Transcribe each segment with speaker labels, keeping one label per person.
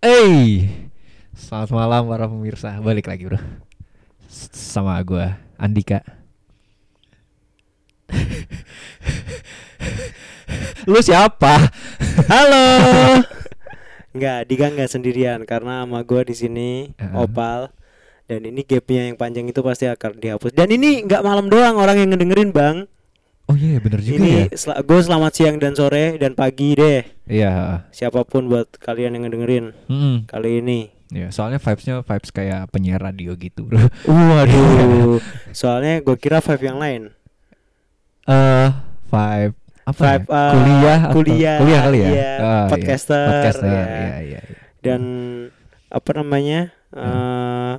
Speaker 1: Hey, selamat malam para pemirsa. Balik lagi bro, S- sama gua Andika. Lu siapa? Halo.
Speaker 2: Enggak, Dika enggak sendirian karena sama gua di sini
Speaker 1: Heeh.
Speaker 2: Opal dan ini gapnya yang panjang itu pasti akan dihapus. Dan ini enggak malam doang orang yang ngedengerin, Bang.
Speaker 1: Oh iya bener juga ya.
Speaker 2: ini sel- gua selamat siang dan sore dan pagi deh.
Speaker 1: Iya.
Speaker 2: Siapapun buat kalian yang ngedengerin
Speaker 1: Mm-mm.
Speaker 2: kali ini.
Speaker 1: Iya, soalnya vibesnya vibes kayak penyiar radio gitu bro.
Speaker 2: Waduh. Soalnya gua kira vibe yang lain.
Speaker 1: Eh, vibe apa
Speaker 2: Vibe
Speaker 1: ya?
Speaker 2: eh,
Speaker 1: kuliah atau-
Speaker 2: kuliah,
Speaker 1: kuliah kali ya?
Speaker 2: iya,
Speaker 1: Ah, iya.
Speaker 2: podcaster,
Speaker 1: Podcaster,
Speaker 2: ya.
Speaker 1: iya, iya, iya.
Speaker 2: Dan apa namanya? eh
Speaker 1: Hmm.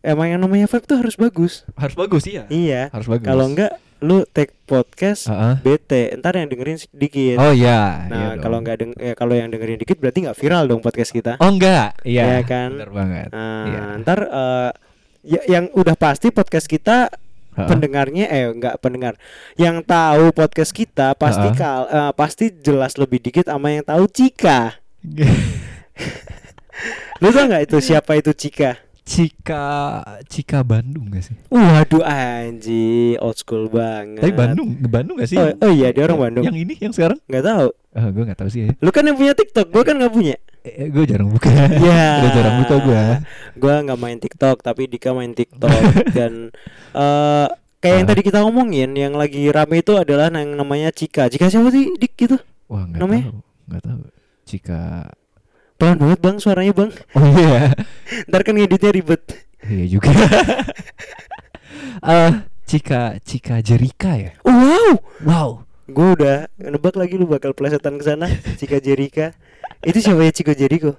Speaker 2: emang yang namanya vibe tuh harus bagus.
Speaker 1: Harus bagus iya.
Speaker 2: Iya.
Speaker 1: Harus bagus.
Speaker 2: Kalau enggak lu take podcast
Speaker 1: Heeh.
Speaker 2: bete ntar yang dengerin sedikit
Speaker 1: Oh iya. iya
Speaker 2: nah
Speaker 1: dong.
Speaker 2: kalau nggak deng ya, kalau yang dengerin dikit berarti nggak viral dong podcast kita
Speaker 1: Oh enggak, iya.
Speaker 2: Iya kan?
Speaker 1: Bener banget.
Speaker 2: nah
Speaker 1: iya.
Speaker 2: ntar eh, ya, yang udah pasti podcast kita
Speaker 1: Heeh.
Speaker 2: pendengarnya eh nggak pendengar yang tahu podcast kita pasti
Speaker 1: Heeh.
Speaker 2: kal eh, pasti jelas lebih dikit sama yang tahu Cika lu tau nggak itu siapa itu Cika
Speaker 1: Cika Cika Bandung gak sih?
Speaker 2: waduh anji old school banget
Speaker 1: Tapi Bandung, Bandung gak sih?
Speaker 2: oh, oh iya dia orang Bandung
Speaker 1: Yang ini yang sekarang?
Speaker 2: nggak tahu
Speaker 1: Oh, gue gak tahu sih ya.
Speaker 2: lu kan yang punya TikTok gua kan nggak punya
Speaker 1: Eh, gue jarang buka.
Speaker 2: Iya.
Speaker 1: gue jarang buka gue.
Speaker 2: Gua nggak main TikTok tapi Dika main TikTok dan eh kayak yang
Speaker 1: Ah.
Speaker 2: tadi kita ngomongin yang lagi rame itu adalah yang namanya Cika. Cika siapa sih Dik gitu?
Speaker 1: Wah, gak
Speaker 2: Namanya?
Speaker 1: tahu. Gak tahu. Cika
Speaker 2: Pelan banget bang suaranya bang.
Speaker 1: Oh iya.
Speaker 2: Ntar kan ngeditnya ribet.
Speaker 1: Iya juga. Eh, Cika Cika Jerika ya.
Speaker 2: Oh, Wow,
Speaker 1: Wow.
Speaker 2: gue udah nebak lagi lu bakal pelesetan ke sana Cika Jerika. Itu siapa ya Cika Jeriko?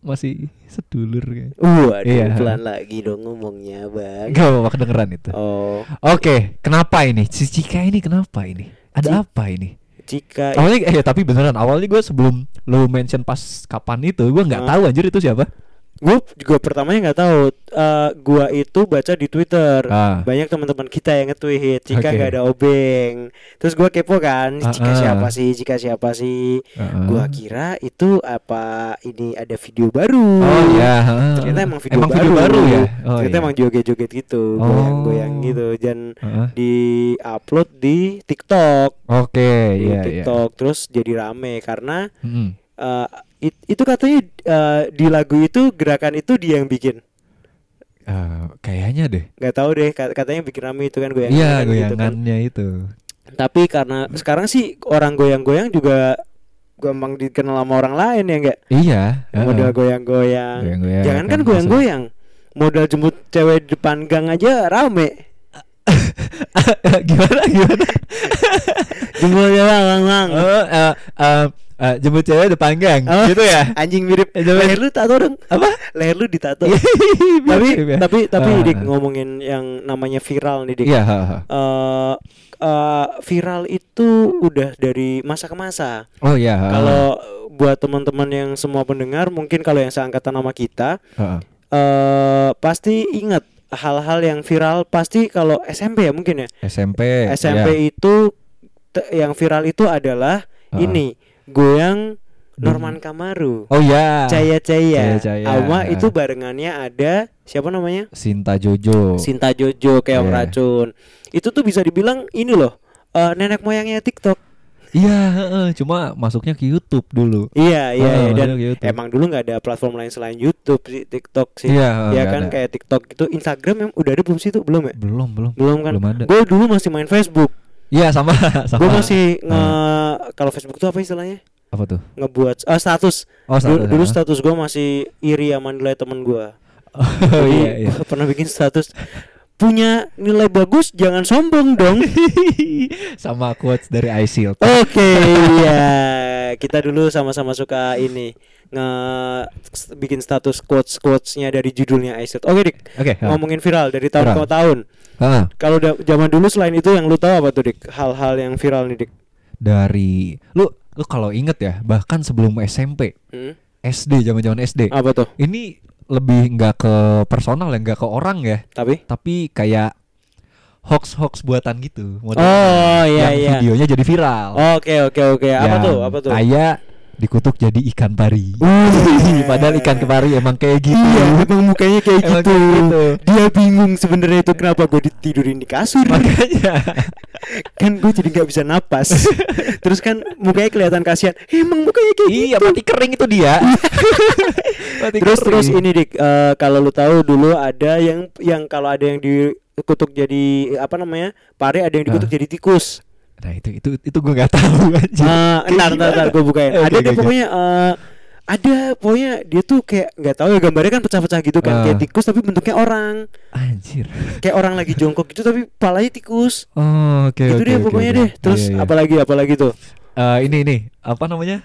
Speaker 1: Masih sedulur kayak.
Speaker 2: Waduh,
Speaker 1: Iya.
Speaker 2: pelan lagi dong ngomongnya bang.
Speaker 1: Gak apa-apa kedengeran itu.
Speaker 2: Oh,
Speaker 1: Oke, kenapa ini? Si Cika ini kenapa ini? Ada apa ini?
Speaker 2: Cika.
Speaker 1: Awalnya eh tapi beneran awalnya gue sebelum lo mention pas kapan itu gue nggak
Speaker 2: Ah.
Speaker 1: tahu anjir itu siapa.
Speaker 2: Gue juga pertamanya nggak tahu. Eh, gua itu baca di Twitter.
Speaker 1: Ah.
Speaker 2: Banyak teman-teman kita yang nge-tweet Cika
Speaker 1: Oke.
Speaker 2: nggak ada obeng. Terus gua kepo kan,
Speaker 1: Ah,
Speaker 2: Cika
Speaker 1: ah.
Speaker 2: siapa sih? Cika siapa sih?
Speaker 1: Heeh.
Speaker 2: Gua kira itu apa ini ada video baru.
Speaker 1: Oh iya. heeh.
Speaker 2: Ternyata emang video, baru.
Speaker 1: ya. Oh,
Speaker 2: Ternyata
Speaker 1: iya.
Speaker 2: emang joget-joget gitu,
Speaker 1: Oh. Ah,
Speaker 2: goyang-goyang gitu dan
Speaker 1: Heeh.
Speaker 2: di-upload di TikTok,
Speaker 1: Oke,
Speaker 2: di
Speaker 1: iya Hmm. iya.
Speaker 2: TikTok terus jadi rame karena
Speaker 1: Mm-mm.
Speaker 2: eh, it- itu katanya eh, di lagu itu gerakan itu dia yang bikin.
Speaker 1: Eh, kayaknya deh.
Speaker 2: nggak tahu deh kat- katanya bikin rame itu kan goyang
Speaker 1: Iya, goyangannya itu.
Speaker 2: tapi karena sekarang sih orang goyang-goyang juga gampang dikenal sama orang lain ya enggak
Speaker 1: Iya.
Speaker 2: modal
Speaker 1: heeh.
Speaker 2: goyang-goyang
Speaker 1: Goyang-goyang,
Speaker 2: jangan kan
Speaker 1: kan,
Speaker 2: goyang-goyang modal jemput cewek di depan gang aja rame
Speaker 1: gimana gimana?
Speaker 2: jemput cewek lang lang
Speaker 1: oh, eh, eh, eh, jemput cewek depan gang,
Speaker 2: Oh,
Speaker 1: gitu ya?
Speaker 2: anjing mirip
Speaker 1: Eh, jemput-
Speaker 2: leher lu tato dong
Speaker 1: Apa?
Speaker 2: leher lu ditato tapi
Speaker 1: Mirip ya?
Speaker 2: tapi tapi
Speaker 1: Iya. Ah,
Speaker 2: dik
Speaker 1: ah.
Speaker 2: ngomongin yang namanya viral nih dik
Speaker 1: Iya. heeh.
Speaker 2: Eh, eh, viral itu udah dari masa ke masa
Speaker 1: Oh iya. heeh.
Speaker 2: Kalau buat teman-teman yang semua pendengar, mungkin kalau yang seangkatan sama kita,
Speaker 1: Heeh.
Speaker 2: eh pasti ingat hal-hal yang viral. Pasti kalau SMP ya mungkin ya.
Speaker 1: SMP. iya.
Speaker 2: SMP itu te- yang viral itu adalah
Speaker 1: Ah. Hmm.
Speaker 2: ini goyang Norman Kamaru,
Speaker 1: Oh iya.
Speaker 2: Caya Caya,
Speaker 1: Caya-Caya,
Speaker 2: Ama
Speaker 1: ah.
Speaker 2: itu barengannya ada siapa namanya?
Speaker 1: Sinta Jojo.
Speaker 2: Sinta Jojo,
Speaker 1: Oh.
Speaker 2: Keong
Speaker 1: Iya.
Speaker 2: Racun. Itu tuh bisa dibilang ini loh. eh, nenek moyangnya TikTok.
Speaker 1: Iya, heeh, cuma masuknya ke YouTube dulu.
Speaker 2: Iya, iya,
Speaker 1: Ah,
Speaker 2: iya. dan
Speaker 1: masuknya ke YouTube.
Speaker 2: emang dulu nggak ada platform lain selain YouTube sih, TikTok sih.
Speaker 1: Iya, nggak
Speaker 2: ya kan
Speaker 1: ada.
Speaker 2: kayak TikTok itu Instagram em, udah ada belum sih itu belum ya
Speaker 1: belum belum.
Speaker 2: belum kan
Speaker 1: Belum ada.
Speaker 2: gue dulu masih main Facebook
Speaker 1: Iya sama sama.
Speaker 2: gue masih
Speaker 1: Nah.
Speaker 2: nge kalau Facebook tuh apa istilahnya
Speaker 1: apa tuh?
Speaker 2: ngebuat ah, status.
Speaker 1: Oh,
Speaker 2: Dulu-
Speaker 1: status,
Speaker 2: dulu
Speaker 1: ah.
Speaker 2: status gue masih iri sama nilai temen gue
Speaker 1: Oh iya iya.
Speaker 2: pernah bikin status punya nilai bagus jangan sombong dong
Speaker 1: sama quotes dari Aisil.
Speaker 2: Oke, iya. Kita dulu sama-sama suka ini nge bikin status quotes quotesnya dari judulnya Aisyah. Oke, Dik.
Speaker 1: Oke, ha.
Speaker 2: Ngomongin viral dari tahun
Speaker 1: Viral.
Speaker 2: ke tahun.
Speaker 1: Heeh.
Speaker 2: Kalau da- zaman dulu selain itu yang lu tahu apa tuh, Dik? Hal-hal yang viral nih, Dik.
Speaker 1: Dari lu lu kalau inget ya, bahkan sebelum SMP,
Speaker 2: Hmm?
Speaker 1: SD zaman-zaman SD.
Speaker 2: Apa tuh?
Speaker 1: Ini lebih nggak ke personal ya, nggak ke orang ya,
Speaker 2: Tapi
Speaker 1: tapi kayak hoax-hoax buatan gitu.
Speaker 2: Oh, iya,
Speaker 1: yang
Speaker 2: iya.
Speaker 1: videonya jadi viral.
Speaker 2: Oke, oke, oke. Apa
Speaker 1: Yang
Speaker 2: tuh? Apa tuh?
Speaker 1: Kayak dikutuk jadi ikan pari.
Speaker 2: Wih.
Speaker 1: Padahal ikan kepari emang kayak gitu.
Speaker 2: Iya, emang mukanya kayak
Speaker 1: Emang
Speaker 2: gitu.
Speaker 1: kayak gitu.
Speaker 2: Dia bingung sebenarnya itu kenapa gue ditidurin di kasur.
Speaker 1: Makanya.
Speaker 2: kan gue jadi nggak bisa napas. Terus kan mukanya kelihatan kasihan. Eh, Emang mukanya kayak
Speaker 1: iya,
Speaker 2: gitu.
Speaker 1: mati kering itu dia. Mati
Speaker 2: Terus terus
Speaker 1: kering.
Speaker 2: ini dik, eh, kalau lu tahu dulu ada yang yang kalau ada yang dikutuk jadi apa namanya pare, ada yang dikutuk
Speaker 1: Ah.
Speaker 2: jadi tikus.
Speaker 1: Nah, itu itu itu gue nggak tahu anjir.
Speaker 2: Eh, entar entar entar gue bukain.
Speaker 1: Oke,
Speaker 2: ada
Speaker 1: oke,
Speaker 2: deh
Speaker 1: oke.
Speaker 2: pokoknya eh, ada pokoknya dia tuh kayak nggak tahu ya gambarnya kan pecah-pecah gitu kan
Speaker 1: Ah.
Speaker 2: kayak tikus tapi bentuknya orang
Speaker 1: Anjir.
Speaker 2: kayak orang lagi jongkok gitu tapi palanya tikus
Speaker 1: Oh, oke
Speaker 2: gitu
Speaker 1: oke,
Speaker 2: deh
Speaker 1: oke,
Speaker 2: pokoknya
Speaker 1: oke.
Speaker 2: deh terus
Speaker 1: Iya, iya.
Speaker 2: apalagi apalagi tuh
Speaker 1: Eh, ini ini apa namanya?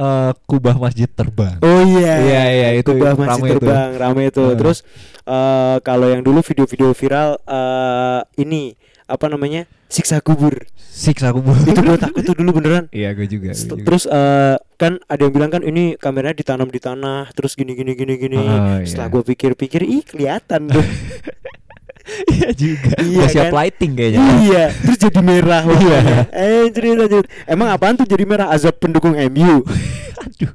Speaker 1: Eh, kubah masjid terbang.
Speaker 2: oh iya
Speaker 1: Iya, iya, itu-
Speaker 2: kubah
Speaker 1: itu
Speaker 2: masih
Speaker 1: rame Ah. itu.
Speaker 2: terbang rame itu
Speaker 1: Heeh.
Speaker 2: terus eh, kalau yang dulu video-video viral eh, ini apa namanya siksa kubur
Speaker 1: Siksa kubur.
Speaker 2: itu gue takut tuh dulu beneran
Speaker 1: Iya, gue juga.
Speaker 2: St-
Speaker 1: gua juga.
Speaker 2: Terus eh, kan ada yang bilang kan ini kameranya ditanam di tanah terus gini gini gini gini.
Speaker 1: Oh,
Speaker 2: Setelah
Speaker 1: iya.
Speaker 2: gue pikir-pikir, ih kelihatan tuh.
Speaker 1: Iya juga.
Speaker 2: Iya,
Speaker 1: Masih
Speaker 2: kan?
Speaker 1: lighting kayaknya.
Speaker 2: iya, terus jadi merah. warnanya. Eh, jadi lanjut. Emang apaan tuh jadi merah? Azab pendukung MU.
Speaker 1: Aduh.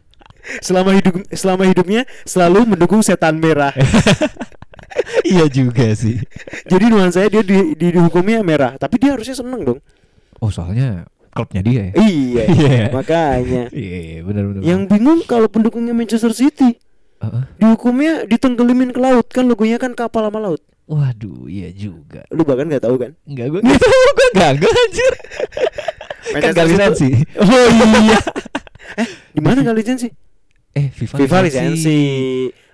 Speaker 2: Selama hidup selama hidupnya selalu mendukung setan merah.
Speaker 1: iya juga sih.
Speaker 2: jadi nuansanya dia di, di- dihukumnya merah, tapi dia harusnya seneng dong.
Speaker 1: Oh, soalnya klubnya dia ya.
Speaker 2: Iya.
Speaker 1: Iya.
Speaker 2: Makanya.
Speaker 1: Iya, iya, benar benar.
Speaker 2: Yang bingung kalau pendukungnya Manchester City
Speaker 1: Heeh.
Speaker 2: dihukumnya ditenggelimin ke laut kan logonya kan kapal sama laut.
Speaker 1: Waduh, iya juga.
Speaker 2: Lu bahkan nggak tahu kan?
Speaker 1: Enggak gue enggak tahu gue enggak enggak anjir. kan
Speaker 2: Manchester
Speaker 1: gak
Speaker 2: City-
Speaker 1: lisensi.
Speaker 2: Oh iya. eh, di mana nggak lisensi?
Speaker 1: Eh, FIFA,
Speaker 2: FIFA lisensi.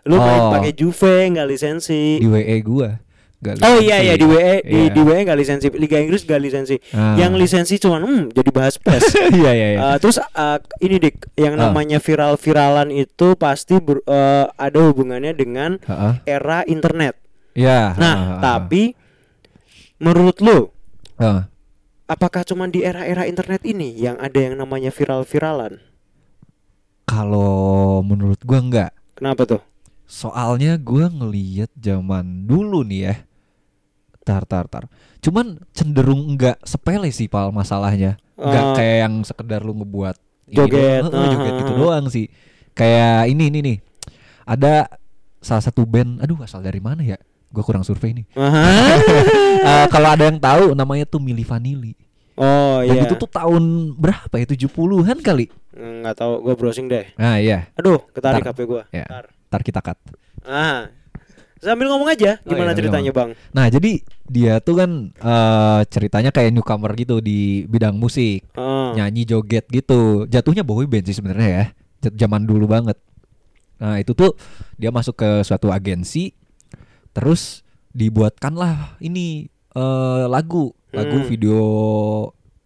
Speaker 2: Lu main
Speaker 1: Oh.
Speaker 2: pakai Juve nggak lisensi.
Speaker 1: Di WE gua. Enggak
Speaker 2: Oh iya iya di WE di,
Speaker 1: Iya.
Speaker 2: di WE nggak lisensi. Liga Inggris nggak lisensi.
Speaker 1: Ah.
Speaker 2: Yang lisensi cuman hmm, jadi bahas pes.
Speaker 1: Iya iya iya.
Speaker 2: Eh, terus eh, ini dik yang
Speaker 1: Ah.
Speaker 2: namanya viral-viralan itu pasti ber- eh, ada hubungannya dengan
Speaker 1: Heeh.
Speaker 2: era internet.
Speaker 1: Iya.
Speaker 2: Nah,
Speaker 1: heeh, heeh.
Speaker 2: tapi menurut lu
Speaker 1: Heeh.
Speaker 2: apakah cuman di era-era internet ini yang ada yang namanya viral-viralan?
Speaker 1: kalau menurut gua enggak.
Speaker 2: Kenapa tuh?
Speaker 1: Soalnya gua ngeliat zaman dulu nih ya. Tar tar tar. Cuman cenderung enggak sepele sih pal masalahnya. Enggak
Speaker 2: Eh,
Speaker 1: kayak yang sekedar lu ngebuat ini
Speaker 2: Joget, Uh-huh.
Speaker 1: doang, eh, joget
Speaker 2: aha.
Speaker 1: itu doang sih. Kayak ini ini nih. Ada salah satu band, aduh asal dari mana ya? Gua kurang survei nih.
Speaker 2: Aha.
Speaker 1: Eh, kalau ada yang tahu namanya tuh Mili Vanilli.
Speaker 2: Oh
Speaker 1: Dan
Speaker 2: iya.
Speaker 1: itu tuh tahun berapa ya? 70-an kali.
Speaker 2: nggak tahu gue browsing deh.
Speaker 1: Nah, iya.
Speaker 2: Aduh, ketarik
Speaker 1: Ntar.
Speaker 2: HP gua.
Speaker 1: Ya.
Speaker 2: Ntar.
Speaker 1: Ntar kita cut.
Speaker 2: Ah. Sambil ngomong aja,
Speaker 1: Oh, iya,
Speaker 2: gimana
Speaker 1: sambil
Speaker 2: ceritanya, Bang?
Speaker 1: Nah, jadi dia tuh kan eh, ceritanya kayak newcomer gitu di bidang musik,
Speaker 2: Heeh.
Speaker 1: nyanyi joget gitu. Jatuhnya boy band sih sebenarnya ya. Jat- Zaman dulu banget. Nah, itu tuh dia masuk ke suatu agensi terus dibuatkanlah ini eh, lagu, lagu
Speaker 2: Hmm.
Speaker 1: video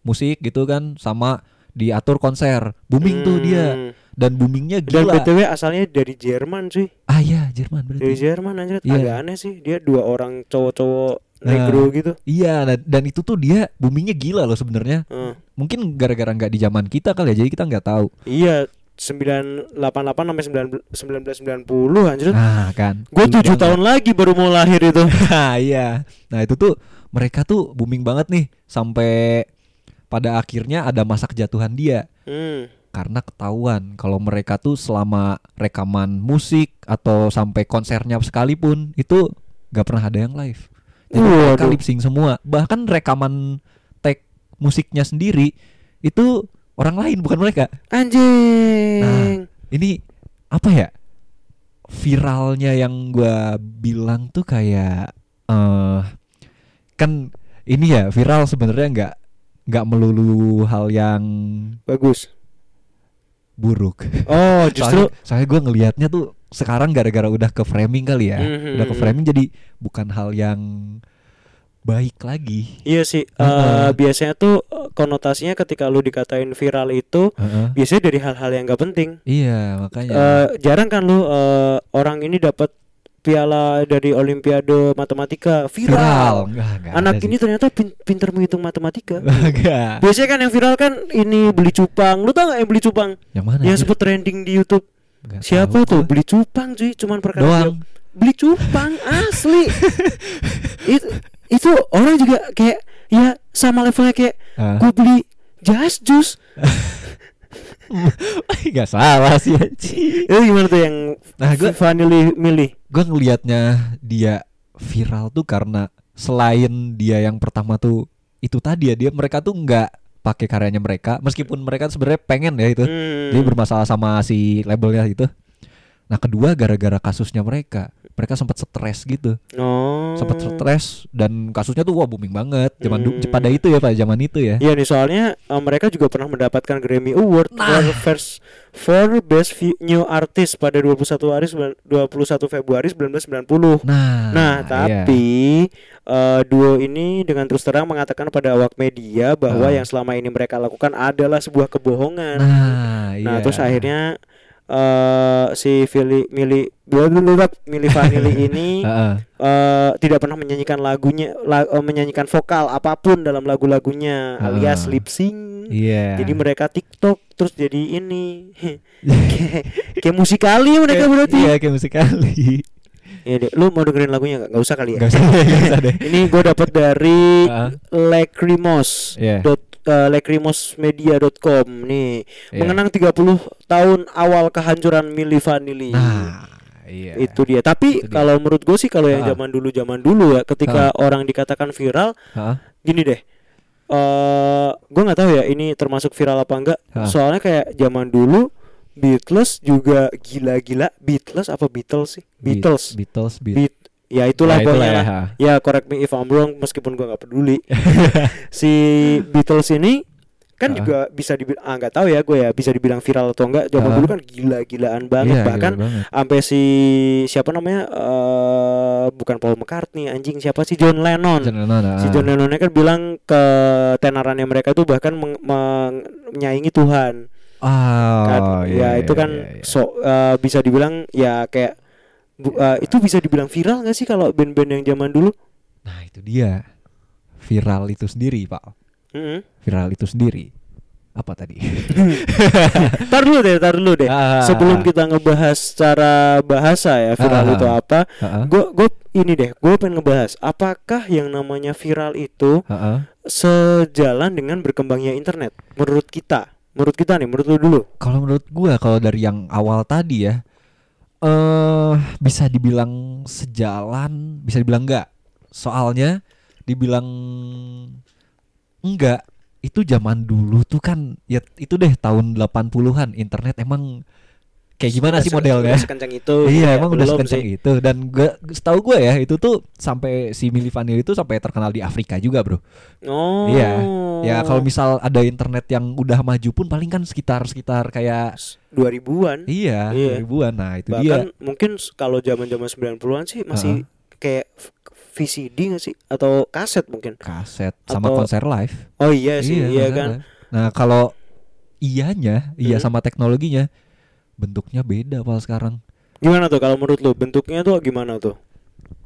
Speaker 1: musik gitu kan sama diatur konser. Booming tuh dia
Speaker 2: Hmm.
Speaker 1: dan boomingnya
Speaker 2: Dan
Speaker 1: gila.
Speaker 2: BTW asalnya dari Jerman sih.
Speaker 1: Ah ya, Jerman berarti.
Speaker 2: Dari Jerman anjir,
Speaker 1: Iya.
Speaker 2: agak aneh sih. Dia dua orang cowok-cowok
Speaker 1: Nah.
Speaker 2: negro gitu.
Speaker 1: Iya, dan, dan itu tuh dia boomingnya gila loh sebenarnya.
Speaker 2: Heeh.
Speaker 1: Mungkin gara-gara nggak di zaman kita kali ya, jadi kita nggak tahu.
Speaker 2: Iya, 988 sampai 1990 anjir.
Speaker 1: Nah kan.
Speaker 2: Gue
Speaker 1: Dulu
Speaker 2: tujuh
Speaker 1: banget.
Speaker 2: tahun lagi baru mau lahir itu.
Speaker 1: Nah, iya. Nah itu tuh mereka tuh booming banget nih sampai pada akhirnya ada masa kejatuhan dia
Speaker 2: Hmm.
Speaker 1: karena ketahuan kalau mereka tuh selama rekaman musik atau sampai konsernya sekalipun itu nggak pernah ada yang live. Jadi mereka
Speaker 2: Waduh.
Speaker 1: lip sync semua. Bahkan rekaman tag musiknya sendiri itu orang lain bukan mereka.
Speaker 2: Anjing.
Speaker 1: Nah, ini apa ya viralnya yang gua bilang tuh kayak eh kan ini ya viral sebenarnya nggak nggak melulu hal yang
Speaker 2: Bagus.
Speaker 1: buruk.
Speaker 2: Oh, justru
Speaker 1: Soalnya, soalnya gue ngelihatnya tuh sekarang gara-gara udah ke framing kali ya,
Speaker 2: Mhm.
Speaker 1: udah ke framing jadi bukan hal yang baik lagi.
Speaker 2: Iya sih, eh,
Speaker 1: Heeh.
Speaker 2: biasanya tuh eh, konotasinya ketika lu dikatain viral itu
Speaker 1: Heeh.
Speaker 2: biasanya dari hal-hal yang gak penting.
Speaker 1: Iya makanya.
Speaker 2: Eh, jarang kan lu eh, orang ini dapat piala dari Olimpiade Matematika viral.
Speaker 1: Nggak, nggak
Speaker 2: Anak
Speaker 1: ada sih.
Speaker 2: ini ternyata pin- pinter menghitung matematika.
Speaker 1: Nggak.
Speaker 2: Biasanya kan yang viral kan ini beli cupang. Lu tau gak yang beli cupang?
Speaker 1: Yang mana?
Speaker 2: yang
Speaker 1: anjir?
Speaker 2: sempet trending di YouTube.
Speaker 1: Nah, iya. Nggak
Speaker 2: Siapa
Speaker 1: tahu
Speaker 2: tuh
Speaker 1: gua.
Speaker 2: beli cupang cuy? Cuman perkara
Speaker 1: Doang.
Speaker 2: dia- beli cupang asli. itu itu orang juga kayak ya sama levelnya kayak
Speaker 1: Ah.
Speaker 2: gue beli jas jus
Speaker 1: Gak salah sih anjing.
Speaker 2: Itu gimana tuh yang
Speaker 1: Nah, gua-
Speaker 2: FIFA milih milih?
Speaker 1: Gue ngelihatnya dia viral tuh karena selain dia yang pertama tuh itu tadi ya dia mereka tuh nggak pakai karyanya mereka meskipun mereka sebenarnya pengen ya itu
Speaker 2: Hmm.
Speaker 1: Jadi bermasalah sama si labelnya gitu. Nah kedua gara-gara kasusnya mereka, mereka sempat stres gitu,
Speaker 2: Oh.
Speaker 1: sempat ya. stres dan kasusnya tuh wah booming banget. Zaman du-
Speaker 2: Hmm.
Speaker 1: pada itu ya pada zaman itu ya.
Speaker 2: Iya nih soalnya eh, mereka juga pernah mendapatkan Grammy Award
Speaker 1: Nah.
Speaker 2: for first for best Fe- new artist pada 21 hari sembilan- 21 Februari 1990.
Speaker 1: Nah,
Speaker 2: Nah,
Speaker 1: iya.
Speaker 2: tapi eh, duo ini dengan terus terang mengatakan pada awak media
Speaker 1: Ah.
Speaker 2: bahwa yang selama ini mereka lakukan adalah sebuah kebohongan.
Speaker 1: nah,
Speaker 2: Nah,
Speaker 1: iya.
Speaker 2: terus akhirnya eh si Fili Mili blablabla, Mili Vanilli ini
Speaker 1: Heeh.
Speaker 2: eh, tidak pernah menyanyikan lagunya la- eh, menyanyikan vokal apapun dalam lagu-lagunya
Speaker 1: Ah.
Speaker 2: alias lip sync.
Speaker 1: Iya.
Speaker 2: Jadi mereka TikTok terus jadi ini kayak kayak musikali mereka berarti.
Speaker 1: Iya kayak musikali.
Speaker 2: Ya, deh. lu mau dengerin lagunya nggak? Nggak usah kali ya.
Speaker 1: Gak usah, gak usah deh.
Speaker 2: Ini gue dapat dari
Speaker 1: Heeh.
Speaker 2: Lacrimos
Speaker 1: Iya.
Speaker 2: dot eh, lacrimosmedia.com nih
Speaker 1: Iya.
Speaker 2: mengenang 30 tahun awal kehancuran Milli Vanilli.
Speaker 1: Nah, iya.
Speaker 2: Itu dia. Tapi
Speaker 1: Itu dia.
Speaker 2: kalau menurut gue sih kalau yang
Speaker 1: Ah.
Speaker 2: zaman dulu zaman dulu ya ketika orang dikatakan viral
Speaker 1: Heeh.
Speaker 2: gini deh. eh gue nggak tahu ya ini termasuk viral apa enggak.
Speaker 1: Ah.
Speaker 2: Soalnya kayak zaman dulu Beatles juga gila-gila Beatles apa Beatles sih?
Speaker 1: Be-
Speaker 2: Beatles.
Speaker 1: Beatles, Beatles.
Speaker 2: Beat ya itulah
Speaker 1: Ya, itulah
Speaker 2: pokoknya
Speaker 1: ya,
Speaker 2: lah. ya correct me if I'm wrong meskipun gua nggak peduli si
Speaker 1: Hmm.
Speaker 2: Beatles ini
Speaker 1: Ah.
Speaker 2: kan juga bisa dibilang ah nggak tahu ya gue ya bisa dibilang viral atau enggak zaman
Speaker 1: Ah.
Speaker 2: dulu kan gila-gilaan banget
Speaker 1: Iya, gila
Speaker 2: bahkan
Speaker 1: banget.
Speaker 2: sampai si siapa namanya eh bukan Paul McCartney anjing siapa sih John Lennon
Speaker 1: John Lennon,
Speaker 2: Hmm. si
Speaker 1: ah.
Speaker 2: John Lennonnya kan bilang ke tenarannya mereka itu bahkan meng- meng- menyaingi Tuhan
Speaker 1: Ah,
Speaker 2: kan
Speaker 1: iya,
Speaker 2: ya itu
Speaker 1: iya,
Speaker 2: kan
Speaker 1: iya, iya.
Speaker 2: so eh, bisa dibilang ya kayak bu- eh, itu bisa dibilang viral nggak sih kalau band-band yang zaman dulu
Speaker 1: Nah itu dia viral itu sendiri pak
Speaker 2: Mm-mm.
Speaker 1: viral itu sendiri apa tadi
Speaker 2: tar dulu deh tar dulu deh
Speaker 1: Ah.
Speaker 2: sebelum kita ngebahas secara bahasa ya viral
Speaker 1: Ah.
Speaker 2: itu apa
Speaker 1: Heeh.
Speaker 2: gue gue ini deh gue pengen ngebahas apakah yang namanya viral itu
Speaker 1: Heeh.
Speaker 2: sejalan dengan berkembangnya internet menurut kita menurut kita nih menurut lu dulu
Speaker 1: kalau menurut gua kalau dari yang awal tadi ya eh bisa dibilang sejalan bisa dibilang enggak soalnya dibilang enggak itu zaman dulu tuh kan ya itu deh tahun 80-an internet emang kayak gimana sih
Speaker 2: Udah se-
Speaker 1: modelnya
Speaker 2: udah sekencang itu
Speaker 1: Iya
Speaker 2: Ya,
Speaker 1: emang udah
Speaker 2: belum
Speaker 1: sekencang
Speaker 2: sih.
Speaker 1: itu dan gue setahu gue ya itu tuh sampai si Milli Vanilli itu sampai terkenal di Afrika juga bro.
Speaker 2: oh
Speaker 1: Iya. Ya kalau misal ada internet yang udah maju pun paling kan sekitar sekitar kayak
Speaker 2: 2000-an
Speaker 1: iya
Speaker 2: Iya.
Speaker 1: ribuan nah itu dia.
Speaker 2: bahkan mungkin s- kalau zaman zaman 90-an sih masih kayak v- VCD nggak sih atau kaset mungkin
Speaker 1: Kaset sama
Speaker 2: atau-
Speaker 1: konser live.
Speaker 2: oh iya sih iya,
Speaker 1: konser
Speaker 2: kan
Speaker 1: live. Nah kalau ianya iya
Speaker 2: Mhm.
Speaker 1: sama teknologinya bentuknya beda pal sekarang.
Speaker 2: gimana tuh kalau menurut lu bentuknya tuh gimana tuh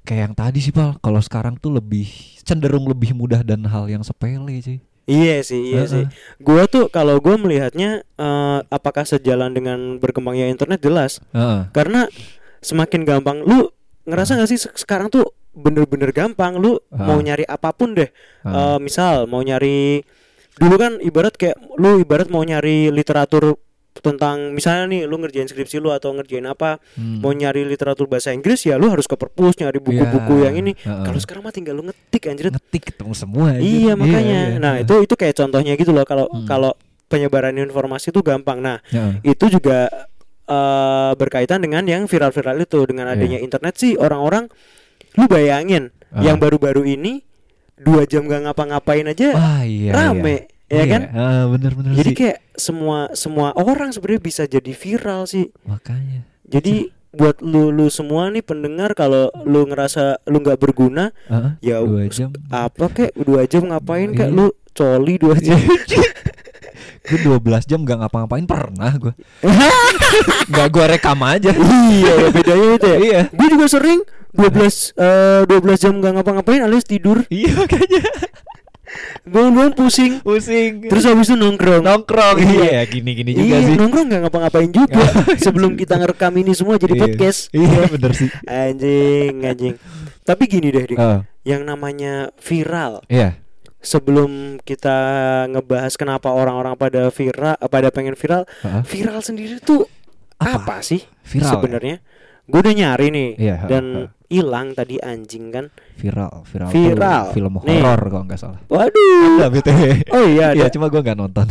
Speaker 1: Kayak yang tadi sih pal kalau sekarang tuh lebih cenderung lebih mudah dan hal yang sepele sih.
Speaker 2: iya sih iya
Speaker 1: Heeh.
Speaker 2: sih gua tuh kalau gua melihatnya eh, apakah sejalan dengan berkembangnya internet jelas
Speaker 1: Heeh.
Speaker 2: karena semakin gampang lu ngerasa nggak sih se- sekarang tuh bener-bener gampang lu
Speaker 1: Ah.
Speaker 2: mau nyari apapun deh
Speaker 1: Ah.
Speaker 2: Eh, misal mau nyari dulu kan ibarat kayak lu ibarat mau nyari literatur tentang misalnya nih lu ngerjain skripsi lu atau ngerjain apa
Speaker 1: Hmm.
Speaker 2: mau nyari literatur bahasa Inggris ya lu harus ke perpus nyari buku-buku
Speaker 1: Iya,
Speaker 2: yang ini
Speaker 1: heeh.
Speaker 2: kalau sekarang mah tinggal lu ngetik anjir
Speaker 1: ngetik ketemu semua aja.
Speaker 2: iya makanya
Speaker 1: iya.
Speaker 2: nah itu itu kayak contohnya gitu loh kalau
Speaker 1: Hmm.
Speaker 2: kalau penyebaran informasi itu gampang nah
Speaker 1: Heeh.
Speaker 2: itu juga eh, berkaitan dengan yang viral-viral itu
Speaker 1: Iya.
Speaker 2: dengan adanya internet sih orang-orang lu bayangin
Speaker 1: Ah.
Speaker 2: yang baru-baru ini dua jam gak ngapa-ngapain aja
Speaker 1: Wah, iya,
Speaker 2: rame
Speaker 1: iya.
Speaker 2: ya kan
Speaker 1: Ah, bener-bener
Speaker 2: jadi
Speaker 1: sih.
Speaker 2: kayak semua semua orang sebenarnya bisa jadi viral sih
Speaker 1: makanya.
Speaker 2: jadi buat lu lu semua nih pendengar kalau lu ngerasa lu nggak berguna
Speaker 1: Heeh,
Speaker 2: ya
Speaker 1: dua
Speaker 2: s-
Speaker 1: jam.
Speaker 2: apa kek dua jam ngapain kek
Speaker 1: Iya.
Speaker 2: lu coli dua jam
Speaker 1: Gue 12 jam gak ngapa-ngapain pernah gue. gak gue rekam aja.
Speaker 2: iya ya bedanya itu ya
Speaker 1: Iya.
Speaker 2: gue juga sering 12 eh 12 jam gak ngapa-ngapain alias tidur
Speaker 1: Iya makanya
Speaker 2: bangun-bangun pusing
Speaker 1: pusing.
Speaker 2: terus habis itu nongkrong
Speaker 1: nongkrong. Iya,
Speaker 2: Iya.
Speaker 1: gini-gini juga
Speaker 2: iya,
Speaker 1: sih.
Speaker 2: nongkrong gak ngapa-ngapain juga sebelum kita ngerekam ini semua jadi
Speaker 1: Iya.
Speaker 2: podcast
Speaker 1: Iya, bener sih.
Speaker 2: anjing anjing tapi gini deh Dik.
Speaker 1: Ah,
Speaker 2: yang namanya viral
Speaker 1: iya.
Speaker 2: sebelum kita ngebahas kenapa orang-orang pada viral pada pengen viral,
Speaker 1: Heeh.
Speaker 2: viral sendiri tuh
Speaker 1: Apa?
Speaker 2: apa, sih
Speaker 1: Viral ya?
Speaker 2: sebenarnya? Gue udah nyari nih
Speaker 1: Iya, ha,
Speaker 2: dan
Speaker 1: ha.
Speaker 2: hilang tadi anjing kan.
Speaker 1: Viral, viral. tuh
Speaker 2: Viral.
Speaker 1: Film
Speaker 2: Nih.
Speaker 1: horor kalau nggak salah.
Speaker 2: Waduh.
Speaker 1: Ada BTW.
Speaker 2: Oh iya
Speaker 1: Iya,
Speaker 2: ada.
Speaker 1: cuma gua nggak nonton.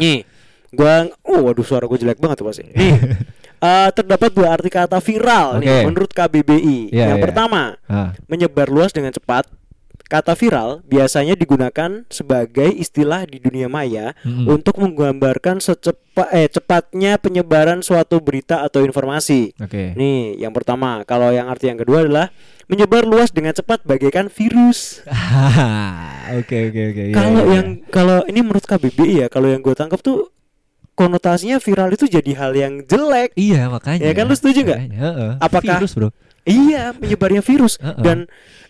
Speaker 2: Nih, gua oh waduh suara gue jelek banget tuh pasti. Nih, eh, terdapat dua arti kata viral nih
Speaker 1: Oke.
Speaker 2: menurut KBBI.
Speaker 1: Iya,
Speaker 2: yang
Speaker 1: iya.
Speaker 2: pertama,
Speaker 1: Ah,
Speaker 2: menyebar luas dengan cepat. Kata viral biasanya digunakan sebagai istilah di dunia maya
Speaker 1: Mm-mm.
Speaker 2: untuk menggambarkan secepat eh cepatnya penyebaran suatu berita atau informasi.
Speaker 1: Oke.
Speaker 2: Nih, yang pertama, kalau yang arti yang kedua adalah menyebar luas dengan cepat bagaikan virus.
Speaker 1: Oke, oke, oke. iya,
Speaker 2: Kalau
Speaker 1: iya,
Speaker 2: yang kalau ini menurut KBBI ya, kalau yang gue tangkap tuh konotasinya viral itu jadi hal yang jelek.
Speaker 1: Iya makanya.
Speaker 2: Ya kan, lu setuju nggak?
Speaker 1: Makanya, heeh.
Speaker 2: Apakah-
Speaker 1: virus bro?
Speaker 2: Iya, menyebarnya virus
Speaker 1: Heeh.
Speaker 2: dan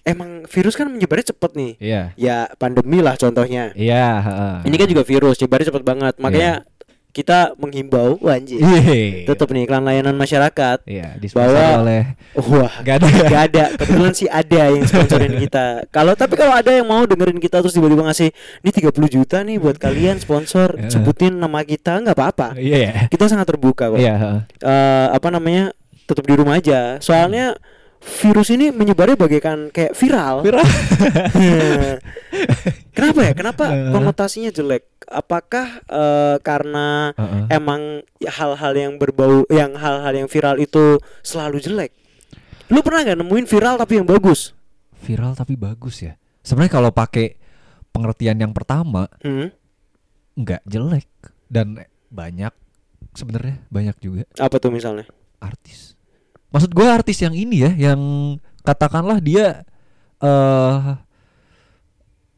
Speaker 2: emang virus kan menyebarnya cepet nih.
Speaker 1: Iya.
Speaker 2: Ya pandemi lah contohnya.
Speaker 1: Iya. heeh.
Speaker 2: Ini kan juga virus, nyebarnya cepet banget. Makanya kita menghimbau, wah, anjir.
Speaker 1: Iya.
Speaker 2: Tetap nih iklan layanan masyarakat.
Speaker 1: Iya. Disponsori
Speaker 2: Bahwa-
Speaker 1: oleh.
Speaker 2: Wah,
Speaker 1: Gak ada.
Speaker 2: Gak ada. Kebetulan sih ada yang sponsorin kita. Kalau tapi kalau ada yang mau dengerin kita terus tiba-tiba ngasih ini 30 juta nih buat kalian sponsor,
Speaker 1: Heeh.
Speaker 2: sebutin nama kita nggak apa-apa.
Speaker 1: Iya. ya.
Speaker 2: Kita sangat terbuka kok.
Speaker 1: Iya. heeh.
Speaker 2: Eh, apa namanya? Tetap di rumah aja. Soalnya virus ini menyebarnya bagaikan kayak viral.
Speaker 1: Viral.
Speaker 2: Kenapa ya? Kenapa
Speaker 1: Heeh.
Speaker 2: konotasinya jelek? Apakah eh, karena
Speaker 1: Heeh.
Speaker 2: emang hal-hal yang berbau yang hal-hal yang viral itu selalu jelek? Lu pernah nggak nemuin viral tapi yang bagus?
Speaker 1: Viral tapi bagus ya. Sebenarnya kalau pakai pengertian yang pertama
Speaker 2: Hmm.
Speaker 1: nggak jelek dan banyak sebenarnya banyak juga
Speaker 2: Apa tuh misalnya?
Speaker 1: artis. Maksud gua artis yang ini ya, yang katakanlah dia eh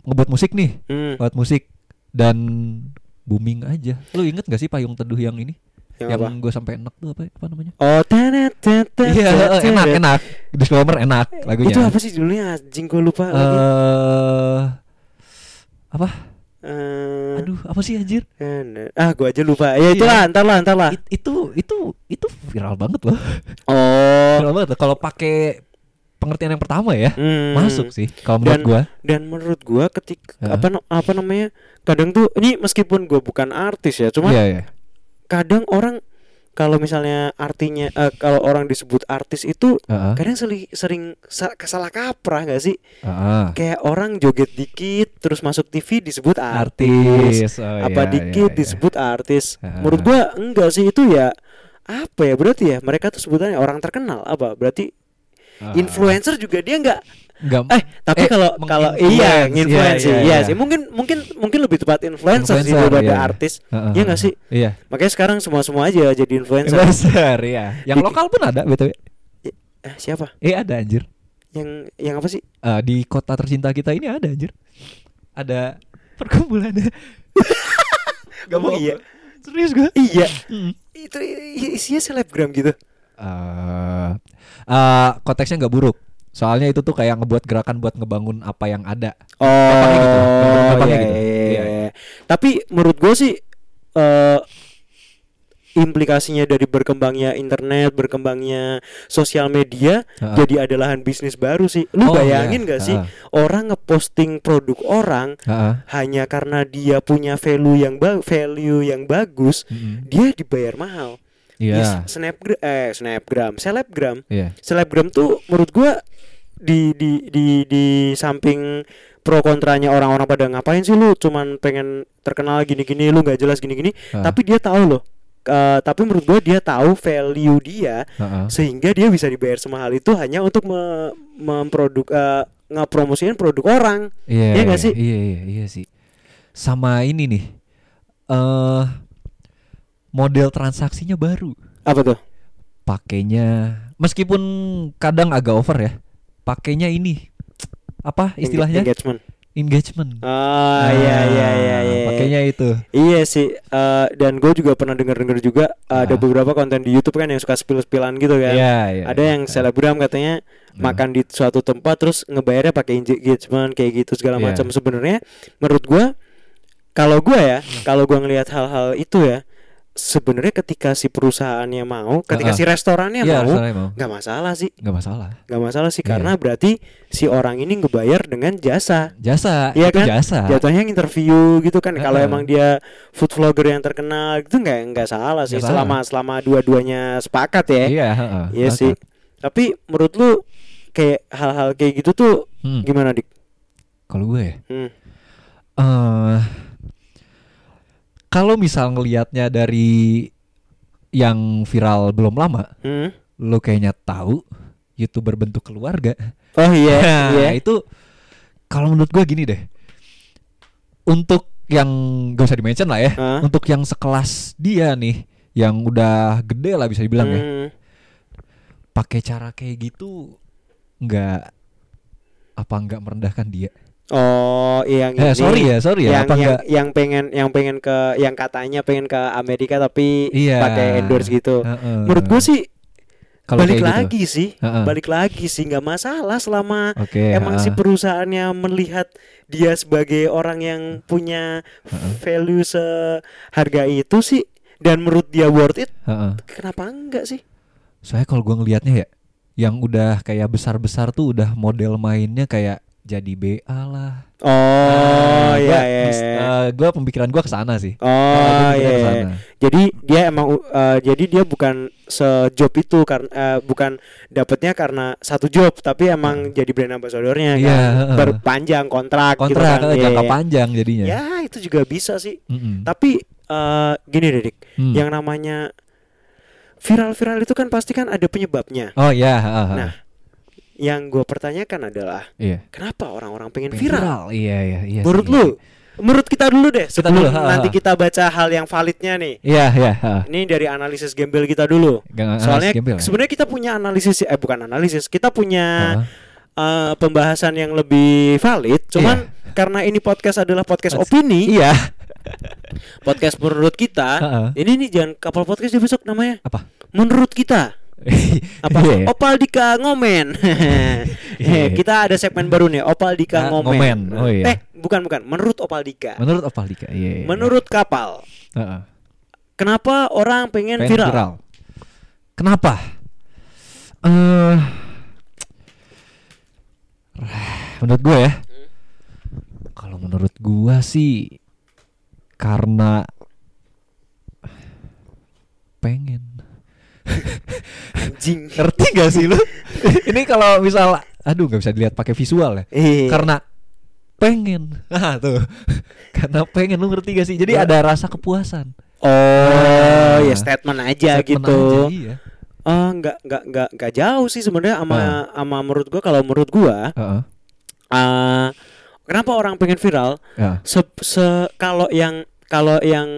Speaker 1: ngebuat musik nih.
Speaker 2: Hmm.
Speaker 1: buat musik dan booming aja. Lu inget gak sih payung teduh yang ini?
Speaker 2: Yang
Speaker 1: Yang,
Speaker 2: apa?
Speaker 1: gue sampai enak tuh apa, apa namanya?
Speaker 2: Oh, tenet, tenet, tenet,
Speaker 1: Iya,
Speaker 2: tenet.
Speaker 1: enak, enak. Disclaimer enak lagunya.
Speaker 2: Itu apa sih judulnya? Anjing gue lupa lagi.
Speaker 1: Eh, apa?
Speaker 2: Eh,
Speaker 1: Aduh, apa sih anjir?
Speaker 2: tenet. Ah, gue aja lupa. Ya itulah, ntar lah, ntar lah.
Speaker 1: It- itu itu itu viral banget loh.
Speaker 2: Oh.
Speaker 1: Viral banget loh. kalau pakai pengertian yang pertama ya.
Speaker 2: Hmm.
Speaker 1: Masuk sih kalau menurut
Speaker 2: Dan-
Speaker 1: gua.
Speaker 2: Dan menurut gua ketika
Speaker 1: Heeh.
Speaker 2: apa na- apa namanya? Kadang tuh ini meskipun gua bukan artis ya, cuman
Speaker 1: Iya, iya.
Speaker 2: kadang orang kalau misalnya artinya eh, kalau orang disebut artis itu
Speaker 1: Heeh.
Speaker 2: kadang seli- sering sa- salah kaprah nggak sih?
Speaker 1: Heeh.
Speaker 2: Kayak orang joget dikit terus masuk TV disebut
Speaker 1: Artis.
Speaker 2: artis.
Speaker 1: Oh,
Speaker 2: apa
Speaker 1: iya,
Speaker 2: dikit
Speaker 1: iya, iya.
Speaker 2: disebut artis.
Speaker 1: Ah.
Speaker 2: Menurut gua enggak sih itu ya apa ya berarti ya mereka tuh sebutannya orang terkenal apa berarti
Speaker 1: Ah.
Speaker 2: influencer juga dia enggak
Speaker 1: Nggak-
Speaker 2: eh tapi
Speaker 1: Eh,
Speaker 2: kalau kalau
Speaker 1: menginfluence,
Speaker 2: iya
Speaker 1: iya,
Speaker 2: influencer iya,
Speaker 1: iya, iya.
Speaker 2: sih mungkin mungkin mungkin lebih tepat influencer, sih
Speaker 1: Influencer,
Speaker 2: daripada
Speaker 1: iya.
Speaker 2: artis
Speaker 1: Heeh.
Speaker 2: ya enggak sih
Speaker 1: Iya.
Speaker 2: makanya sekarang semua semua aja jadi influencer
Speaker 1: Influencer ya. Yang
Speaker 2: Dikit.
Speaker 1: lokal pun ada BTW.
Speaker 2: eh, siapa
Speaker 1: Eh ada anjir.
Speaker 2: yang yang apa sih
Speaker 1: Eh, di kota tercinta kita ini ada anjir. Ada perkumpulan. Gak
Speaker 2: Emang iya?
Speaker 1: Serius gue.
Speaker 2: iya
Speaker 1: Mm.
Speaker 2: itu i- isinya selebgram gitu
Speaker 1: Eh, eh, konteksnya nggak buruk. Soalnya itu tuh kayak ngebuat gerakan buat ngebangun apa yang ada.
Speaker 2: Oh,
Speaker 1: Gampangnya gitu, gampang- gampangnya
Speaker 2: iya,
Speaker 1: gitu.
Speaker 2: iya,
Speaker 1: Iya,
Speaker 2: iya. Tapi menurut gue sih eh implikasinya dari berkembangnya internet, berkembangnya sosial media,
Speaker 1: Heeh.
Speaker 2: jadi ada lahan bisnis baru sih. Lu
Speaker 1: Oh,
Speaker 2: bayangin
Speaker 1: iya.
Speaker 2: nggak sih
Speaker 1: Heeh.
Speaker 2: orang ngeposting produk orang
Speaker 1: Heeh.
Speaker 2: hanya karena dia punya value yang ba- value yang bagus,
Speaker 1: Mm-mm.
Speaker 2: dia dibayar mahal.
Speaker 1: Mm-hmm. Iya.
Speaker 2: Di snapgram, eh snapgram, selebgram
Speaker 1: Iya.
Speaker 2: selebgram tuh menurut gua di di di di samping pro kontranya orang-orang pada ngapain sih lu cuman pengen terkenal gini-gini lu nggak jelas gini-gini
Speaker 1: Ah.
Speaker 2: tapi dia tahu loh Eh, tapi menurut gua dia tahu value dia
Speaker 1: Heeh.
Speaker 2: sehingga dia bisa dibayar semahal itu hanya untuk me memproduk eh, ngepromosiin produk orang
Speaker 1: Iya.
Speaker 2: Iya nggak sih?
Speaker 1: Iya, iya, iya sih. Sama ini nih. Eh model transaksinya baru.
Speaker 2: apa tuh
Speaker 1: pakainya meskipun kadang agak over ya pakainya ini apa
Speaker 2: Eng-
Speaker 1: istilahnya
Speaker 2: engagement
Speaker 1: engagement
Speaker 2: ah iya iya iya
Speaker 1: Nah,
Speaker 2: iya
Speaker 1: pakainya itu
Speaker 2: Iya sih, eh, dan gue juga pernah denger-denger juga eh, ada
Speaker 1: Ah.
Speaker 2: beberapa konten di YouTube kan yang suka spill-spillan gitu kan.
Speaker 1: Iya, iya,
Speaker 2: ada
Speaker 1: iya.
Speaker 2: yang selebgram katanya makan di suatu tempat terus ngebayarnya pakai engage- engagement kayak gitu segala
Speaker 1: Iya.
Speaker 2: macam.
Speaker 1: Hmm.
Speaker 2: Sebenarnya menurut gue, kalau gue ya, kalau gue ngelihat hal-hal itu ya, sebenarnya ketika si perusahaannya mau, ketika
Speaker 1: Heeh.
Speaker 2: si restorannya
Speaker 1: Iya,
Speaker 2: mau,
Speaker 1: restorannya mau.
Speaker 2: nggak masalah sih,
Speaker 1: Nggak masalah.
Speaker 2: nggak masalah sih
Speaker 1: Iya.
Speaker 2: karena berarti si orang ini ngebayar dengan jasa.
Speaker 1: Jasa,
Speaker 2: Iya
Speaker 1: itu
Speaker 2: kan?
Speaker 1: jasa.
Speaker 2: Jatuhnya interview gitu kan. Kalau
Speaker 1: Ah. Heeh.
Speaker 2: emang dia food vlogger yang terkenal itu nggak nggak salah sih
Speaker 1: Nggak salah.
Speaker 2: selama selama dua-duanya sepakat ya.
Speaker 1: Iya, heeh.
Speaker 2: Iya sih. Tapi menurut lu kayak hal-hal kayak gitu tuh
Speaker 1: Hmm,
Speaker 2: gimana dik?
Speaker 1: Kalau gue ya,
Speaker 2: Hmm.
Speaker 1: eh, kalau misal ngelihatnya dari yang viral belum lama,
Speaker 2: Hmm.
Speaker 1: lo kayaknya tahu youtuber bentuk keluarga.
Speaker 2: Oh iya,
Speaker 1: Nah,
Speaker 2: iya.
Speaker 1: itu kalau menurut gue gini deh. Untuk yang gak usah dimention lah ya.
Speaker 2: Hah?
Speaker 1: Untuk yang sekelas dia nih yang udah gede lah bisa dibilang ya.
Speaker 2: Hmm.
Speaker 1: Pakai cara kayak gitu nggak apa nggak merendahkan dia.
Speaker 2: Oh, yang ini.
Speaker 1: Eh, sorry ya, sorry ya.
Speaker 2: Yang,
Speaker 1: apa
Speaker 2: yang,
Speaker 1: nggak
Speaker 2: yang pengen yang pengen ke yang katanya pengen ke Amerika tapi
Speaker 1: Iya.
Speaker 2: pakai endorse gitu.
Speaker 1: Heeh.
Speaker 2: Menurut gue sih
Speaker 1: Kalau
Speaker 2: balik
Speaker 1: kayak gitu.
Speaker 2: lagi sih,
Speaker 1: Heeh. Iya.
Speaker 2: balik lagi sih nggak masalah selama
Speaker 1: Oke.
Speaker 2: emang
Speaker 1: heeh.
Speaker 2: si perusahaannya melihat dia sebagai orang yang punya value seharga itu sih dan menurut dia worth it,
Speaker 1: Heeh.
Speaker 2: kenapa enggak sih?
Speaker 1: Soalnya kalau gue ngelihatnya ya yang udah kayak besar-besar tuh udah model mainnya kayak jadi BA lah. Nah, Ah,
Speaker 2: Oh iya iya.
Speaker 1: gue eh, pemikiran gue kesana sih.
Speaker 2: Oh
Speaker 1: Ah, gua mikirnya
Speaker 2: iya.
Speaker 1: kesana.
Speaker 2: Jadi dia emang uh, jadi dia bukan sejob itu karena bukan dapatnya karena satu job tapi emang jadi brand ambassadornya
Speaker 1: Iya,
Speaker 2: kan
Speaker 1: heeh.
Speaker 2: berpanjang kontrak gitu
Speaker 1: kontrak
Speaker 2: kan.
Speaker 1: eh,
Speaker 2: Iya,
Speaker 1: jangka
Speaker 2: iya.
Speaker 1: panjang jadinya.
Speaker 2: Ya itu juga bisa sih.
Speaker 1: Mm-mm.
Speaker 2: Tapi eh, gini deh Dik,
Speaker 1: Hmm.
Speaker 2: yang namanya viral-viral itu kan pasti kan ada penyebabnya.
Speaker 1: Oh ya, ah, ah.
Speaker 2: Nah, Yang gue pertanyakan adalah
Speaker 1: iya.
Speaker 2: kenapa orang-orang pengen
Speaker 1: Pengen
Speaker 2: viral?
Speaker 1: Iya, iya, iya. sih,
Speaker 2: Menurut
Speaker 1: iya.
Speaker 2: lu? Menurut kita dulu deh sebelum
Speaker 1: dulu, ha, ha,
Speaker 2: nanti
Speaker 1: ha.
Speaker 2: kita baca hal yang validnya nih.
Speaker 1: Iya, iya, ha.
Speaker 2: Ini dari analisis gembel kita dulu.
Speaker 1: Nggak nggak
Speaker 2: Soalnya
Speaker 1: harus gembel ya?
Speaker 2: sebenarnya kita punya analisis eh bukan analisis, kita punya
Speaker 1: Ah,
Speaker 2: eh, pembahasan yang lebih valid. Cuman karena ini podcast adalah podcast opini,
Speaker 1: Iya.
Speaker 2: podcast menurut kita.
Speaker 1: Heeh.
Speaker 2: Ini nih jangan kapal podcast dia besok namanya.
Speaker 1: Apa?
Speaker 2: Menurut kita apa
Speaker 1: Iya, iya.
Speaker 2: Opal Dika ngomen.
Speaker 1: Iya.
Speaker 2: Eh, kita ada segmen baru nih Opal Dika
Speaker 1: Ah,
Speaker 2: ngomen.
Speaker 1: ngomen. Oh, iya.
Speaker 2: Eh, bukan bukan, menurut Opal Dika.
Speaker 1: Menurut apa Lika? Iya. iya, iya.
Speaker 2: Menurut kapal.
Speaker 1: Ah, ah.
Speaker 2: Kenapa orang pengen,
Speaker 1: Pengen
Speaker 2: viral?
Speaker 1: Kenapa? Eh, menurut gue ya. Kalau menurut gue sih karena pengen.
Speaker 2: Anjing.
Speaker 1: Ngerti gak sih lu? Ini kalau misal aduh nggak bisa dilihat pakai visual ya.
Speaker 2: Eh,
Speaker 1: Karena pengen. Nah, tuh. Karena pengen lu ngerti gak sih? Jadi
Speaker 2: Ya.
Speaker 1: ada rasa kepuasan.
Speaker 2: oh, ya statement
Speaker 1: Ah.
Speaker 2: aja
Speaker 1: Statement
Speaker 2: gitu.
Speaker 1: aja, iya.
Speaker 2: Eh, nggak nggak nggak nggak jauh sih sebenarnya sama
Speaker 1: Ah.
Speaker 2: sama menurut gua kalau menurut gua
Speaker 1: Heeh.
Speaker 2: eh, kenapa orang pengen viral?
Speaker 1: Ya.
Speaker 2: Se, se- kalau yang kalau yang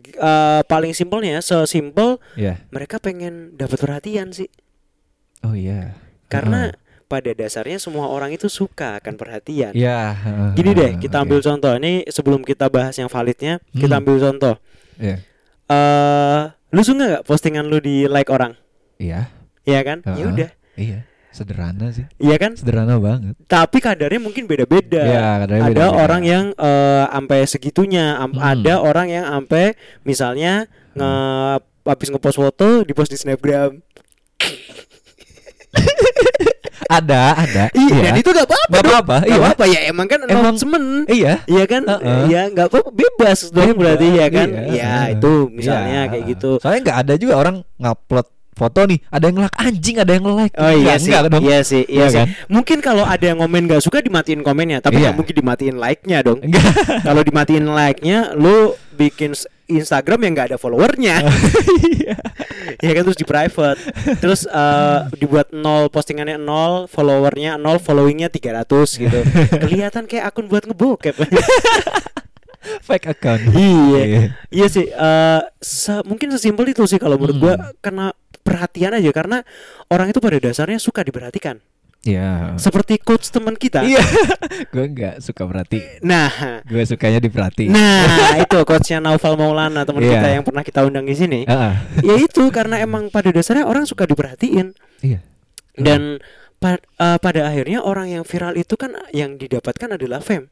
Speaker 2: eh, paling simpelnya sesimpel
Speaker 1: Iya.
Speaker 2: mereka pengen dapat perhatian sih.
Speaker 1: Oh iya.
Speaker 2: Karena
Speaker 1: Heeh.
Speaker 2: pada dasarnya semua orang itu suka akan perhatian.
Speaker 1: Iya. heeh,
Speaker 2: Gini
Speaker 1: heeh,
Speaker 2: deh,
Speaker 1: heeh,
Speaker 2: kita
Speaker 1: oke.
Speaker 2: ambil contoh. Ini sebelum kita bahas yang validnya,
Speaker 1: Hmm.
Speaker 2: kita ambil contoh.
Speaker 1: Iya.
Speaker 2: Eh, lu suka nggak postingan lu di like orang?
Speaker 1: Iya.
Speaker 2: Iya kan?
Speaker 1: heeh.
Speaker 2: Ya udah,
Speaker 1: Iya. Sederhana sih.
Speaker 2: iya kan?
Speaker 1: Sederhana banget.
Speaker 2: Tapi kadarnya mungkin beda-beda.
Speaker 1: Iya, kadarnya
Speaker 2: ada
Speaker 1: beda-beda.
Speaker 2: orang yang eh, ampe segitunya, am-
Speaker 1: Hmm.
Speaker 2: ada orang yang ampe misalnya nge habis ngepost foto di post di Snapgram.
Speaker 1: Ada, ada.
Speaker 2: Iya, dan itu gak apa-apa.
Speaker 1: Gak
Speaker 2: dong.
Speaker 1: apa-apa,
Speaker 2: Nggak
Speaker 1: iya.
Speaker 2: apa-apa ya emang kan
Speaker 1: Emang-
Speaker 2: announcement.
Speaker 1: Iya.
Speaker 2: Iya kan?
Speaker 1: Heeh.
Speaker 2: Ya nggak apa-apa bebas dong
Speaker 1: Bebas,
Speaker 2: berarti ya kan?
Speaker 1: iya,
Speaker 2: Ya
Speaker 1: heeh.
Speaker 2: itu misalnya
Speaker 1: Iya,
Speaker 2: kayak
Speaker 1: heeh.
Speaker 2: gitu.
Speaker 1: Soalnya nggak ada juga orang ngupload foto nih, ada yang like anjing, ada yang like.
Speaker 2: Oh iya
Speaker 1: Nggak-
Speaker 2: sih,
Speaker 1: nggak dong.
Speaker 2: iya sih, iya
Speaker 1: Iya
Speaker 2: sih.
Speaker 1: kan?
Speaker 2: Mungkin kalau ada yang komen gak suka dimatiin komennya, tapi
Speaker 1: Iya.
Speaker 2: nggak mungkin dimatiin like-nya dong.
Speaker 1: Nggak.
Speaker 2: kalau dimatiin like-nya, lu bikin s- Instagram yang nggak ada followernya,
Speaker 1: Iya.
Speaker 2: ya kan terus di private, terus eh, dibuat nol postingannya nol, followernya nol, followingnya 300 gitu. Kelihatan kayak akun buat ngebokep.
Speaker 1: Fake account.
Speaker 2: iya, iya sih. eh, se- mungkin sesimpel itu sih kalau menurut gua
Speaker 1: Hmm.
Speaker 2: karena perhatian aja karena orang itu pada dasarnya suka diperhatikan.
Speaker 1: Iya.
Speaker 2: Seperti coach teman kita.
Speaker 1: Iya. Gue nggak suka berarti.
Speaker 2: Nah,
Speaker 1: Gue sukanya diperhatiin.
Speaker 2: nah itu coachnya Naufal Maulana teman
Speaker 1: Iya.
Speaker 2: kita yang pernah kita undang di sini.
Speaker 1: Heeh.
Speaker 2: Ya itu karena emang pada dasarnya orang suka diperhatiin
Speaker 1: Iya.
Speaker 2: dan pa- eh, pada akhirnya orang yang viral itu kan yang didapatkan adalah fame.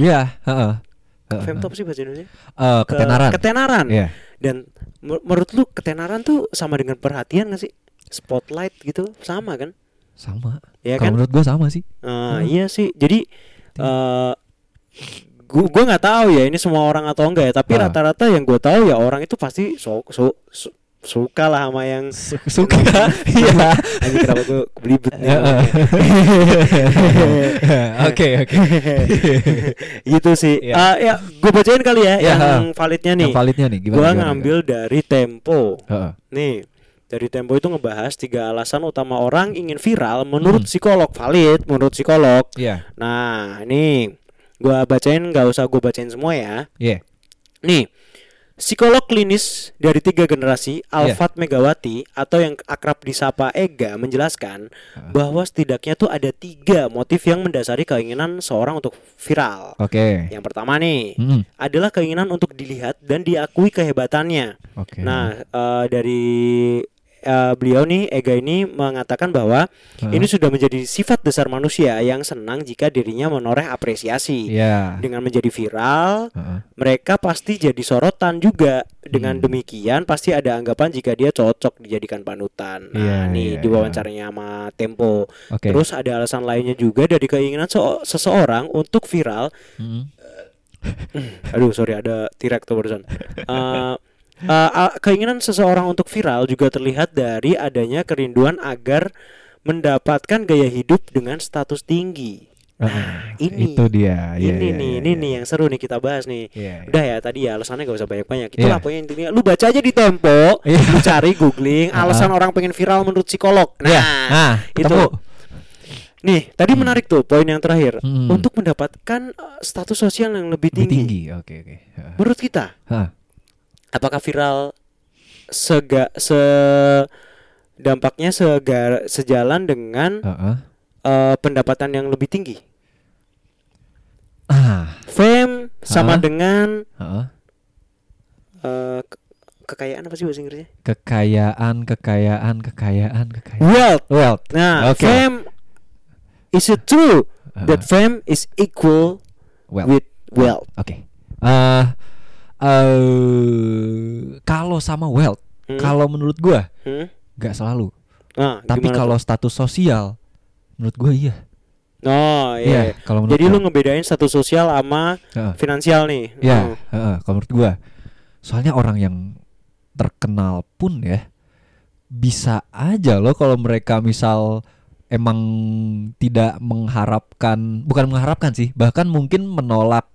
Speaker 1: Iya. Heeh. Heeh.
Speaker 2: Fame top sih bahasa Indonesia.
Speaker 1: Eh,
Speaker 2: Ke-
Speaker 1: ketenaran.
Speaker 2: Ketenaran.
Speaker 1: Iya.
Speaker 2: dan mer- menurut lu ketenaran tuh sama dengan perhatian gak sih spotlight gitu sama kan
Speaker 1: sama kalau
Speaker 2: ya kan
Speaker 1: menurut gua sama sih Hmm.
Speaker 2: Ah, iya sih jadi eh gue gue nggak tahu ya ini semua orang atau enggak ya tapi
Speaker 1: Ah.
Speaker 2: rata-rata yang gue tahu ya orang itu pasti so, so- su- suka lah sama yang
Speaker 1: Su- suka iya
Speaker 2: Anjing kenapa gue belibet nih
Speaker 1: Heeh. oke oke
Speaker 2: gitu sih
Speaker 1: Iya.
Speaker 2: Ah, ya gue bacain kali ya
Speaker 1: Iya,
Speaker 2: yang validnya nih
Speaker 1: yang validnya nih gimana
Speaker 2: gue
Speaker 1: gimana,
Speaker 2: ngambil dari Tempo
Speaker 1: gimana? Heeh.
Speaker 2: Nih, dari Tempo itu ngebahas tiga alasan utama orang ingin viral menurut psikolog valid, menurut psikolog.
Speaker 1: iya
Speaker 2: Nah, ini gua bacain nggak usah gua bacain semua ya.
Speaker 1: iya
Speaker 2: Nih, psikolog klinis dari tiga generasi Alfat Megawati atau yang akrab disapa Ega menjelaskan bahwa setidaknya tuh ada tiga motif yang mendasari keinginan seorang untuk viral.
Speaker 1: oke
Speaker 2: Yang pertama nih
Speaker 1: Mm-mm.
Speaker 2: adalah keinginan untuk dilihat dan diakui kehebatannya.
Speaker 1: oke
Speaker 2: Nah, eh, dari eh, beliau nih Ega ini mengatakan bahwa
Speaker 1: Hah?
Speaker 2: ini sudah menjadi sifat dasar manusia yang senang jika dirinya menoreh apresiasi.
Speaker 1: iya
Speaker 2: Dengan menjadi viral,
Speaker 1: Heeh.
Speaker 2: mereka pasti jadi sorotan juga.
Speaker 1: Hmm.
Speaker 2: Dengan demikian pasti ada anggapan jika dia cocok dijadikan panutan. Nah,
Speaker 1: Iya,
Speaker 2: nih
Speaker 1: iya,
Speaker 2: di wawancaranya sama Tempo.
Speaker 1: oke
Speaker 2: Terus ada alasan lainnya juga dari keinginan so- seseorang untuk viral
Speaker 1: Mm-mm.
Speaker 2: Aduh, sorry ada T-Rex tuh barusan. Eh, eh, a- keinginan seseorang untuk viral juga terlihat dari adanya kerinduan agar mendapatkan gaya hidup dengan status tinggi. Nah,
Speaker 1: Heeh.
Speaker 2: ini.
Speaker 1: itu dia Iya,
Speaker 2: ini
Speaker 1: iya,
Speaker 2: nih,
Speaker 1: iya,
Speaker 2: ini
Speaker 1: iya.
Speaker 2: nih yang seru nih kita bahas nih.
Speaker 1: Iya, iya.
Speaker 2: Udah ya tadi ya alasannya gak usah banyak-banyak. Itulah
Speaker 1: Iya.
Speaker 2: pokoknya intinya. Lu baca aja di Tempo,
Speaker 1: Iya.
Speaker 2: lu cari googling
Speaker 1: Ah,
Speaker 2: alasan orang pengen viral menurut psikolog. Nah,
Speaker 1: Iya, nah,
Speaker 2: itu.
Speaker 1: ketemu.
Speaker 2: Nih, tadi menarik tuh poin yang terakhir.
Speaker 1: Hmm.
Speaker 2: Untuk mendapatkan eh, status sosial yang lebih
Speaker 1: Lebih
Speaker 2: tinggi.
Speaker 1: tinggi oke oke Heeh.
Speaker 2: Menurut kita,
Speaker 1: Hah.
Speaker 2: apakah viral sega se dampaknya segar sejalan dengan
Speaker 1: Heeh.
Speaker 2: eh, pendapatan yang lebih tinggi
Speaker 1: ah
Speaker 2: fame sama
Speaker 1: Hah?
Speaker 2: dengan
Speaker 1: Heeh.
Speaker 2: eh, ke- kekayaan apa sih bahasa Inggrisnya
Speaker 1: kekayaan kekayaan kekayaan kekayaan
Speaker 2: wealth
Speaker 1: wealth
Speaker 2: nah
Speaker 1: Oke.
Speaker 2: fame is it true
Speaker 1: Heeh.
Speaker 2: that fame is equal
Speaker 1: wealth
Speaker 2: with wealth
Speaker 1: Oke. Eh eh, kalau sama wealth,
Speaker 2: Hmm?
Speaker 1: kalau menurut gua
Speaker 2: Hmm?
Speaker 1: nggak selalu.
Speaker 2: Nah,
Speaker 1: Tapi
Speaker 2: gimana
Speaker 1: kalau
Speaker 2: tuh?
Speaker 1: status sosial, menurut gua iya.
Speaker 2: oh
Speaker 1: Iya,
Speaker 2: iya
Speaker 1: kalau menurut
Speaker 2: jadi
Speaker 1: gua.
Speaker 2: lu ngebedain status sosial sama
Speaker 1: Heeh.
Speaker 2: finansial nih
Speaker 1: Iya,
Speaker 2: Oh.
Speaker 1: heeh, kalau menurut gua. Soalnya orang yang terkenal pun ya bisa aja loh kalau mereka misal emang tidak mengharapkan, bukan mengharapkan sih, bahkan mungkin menolak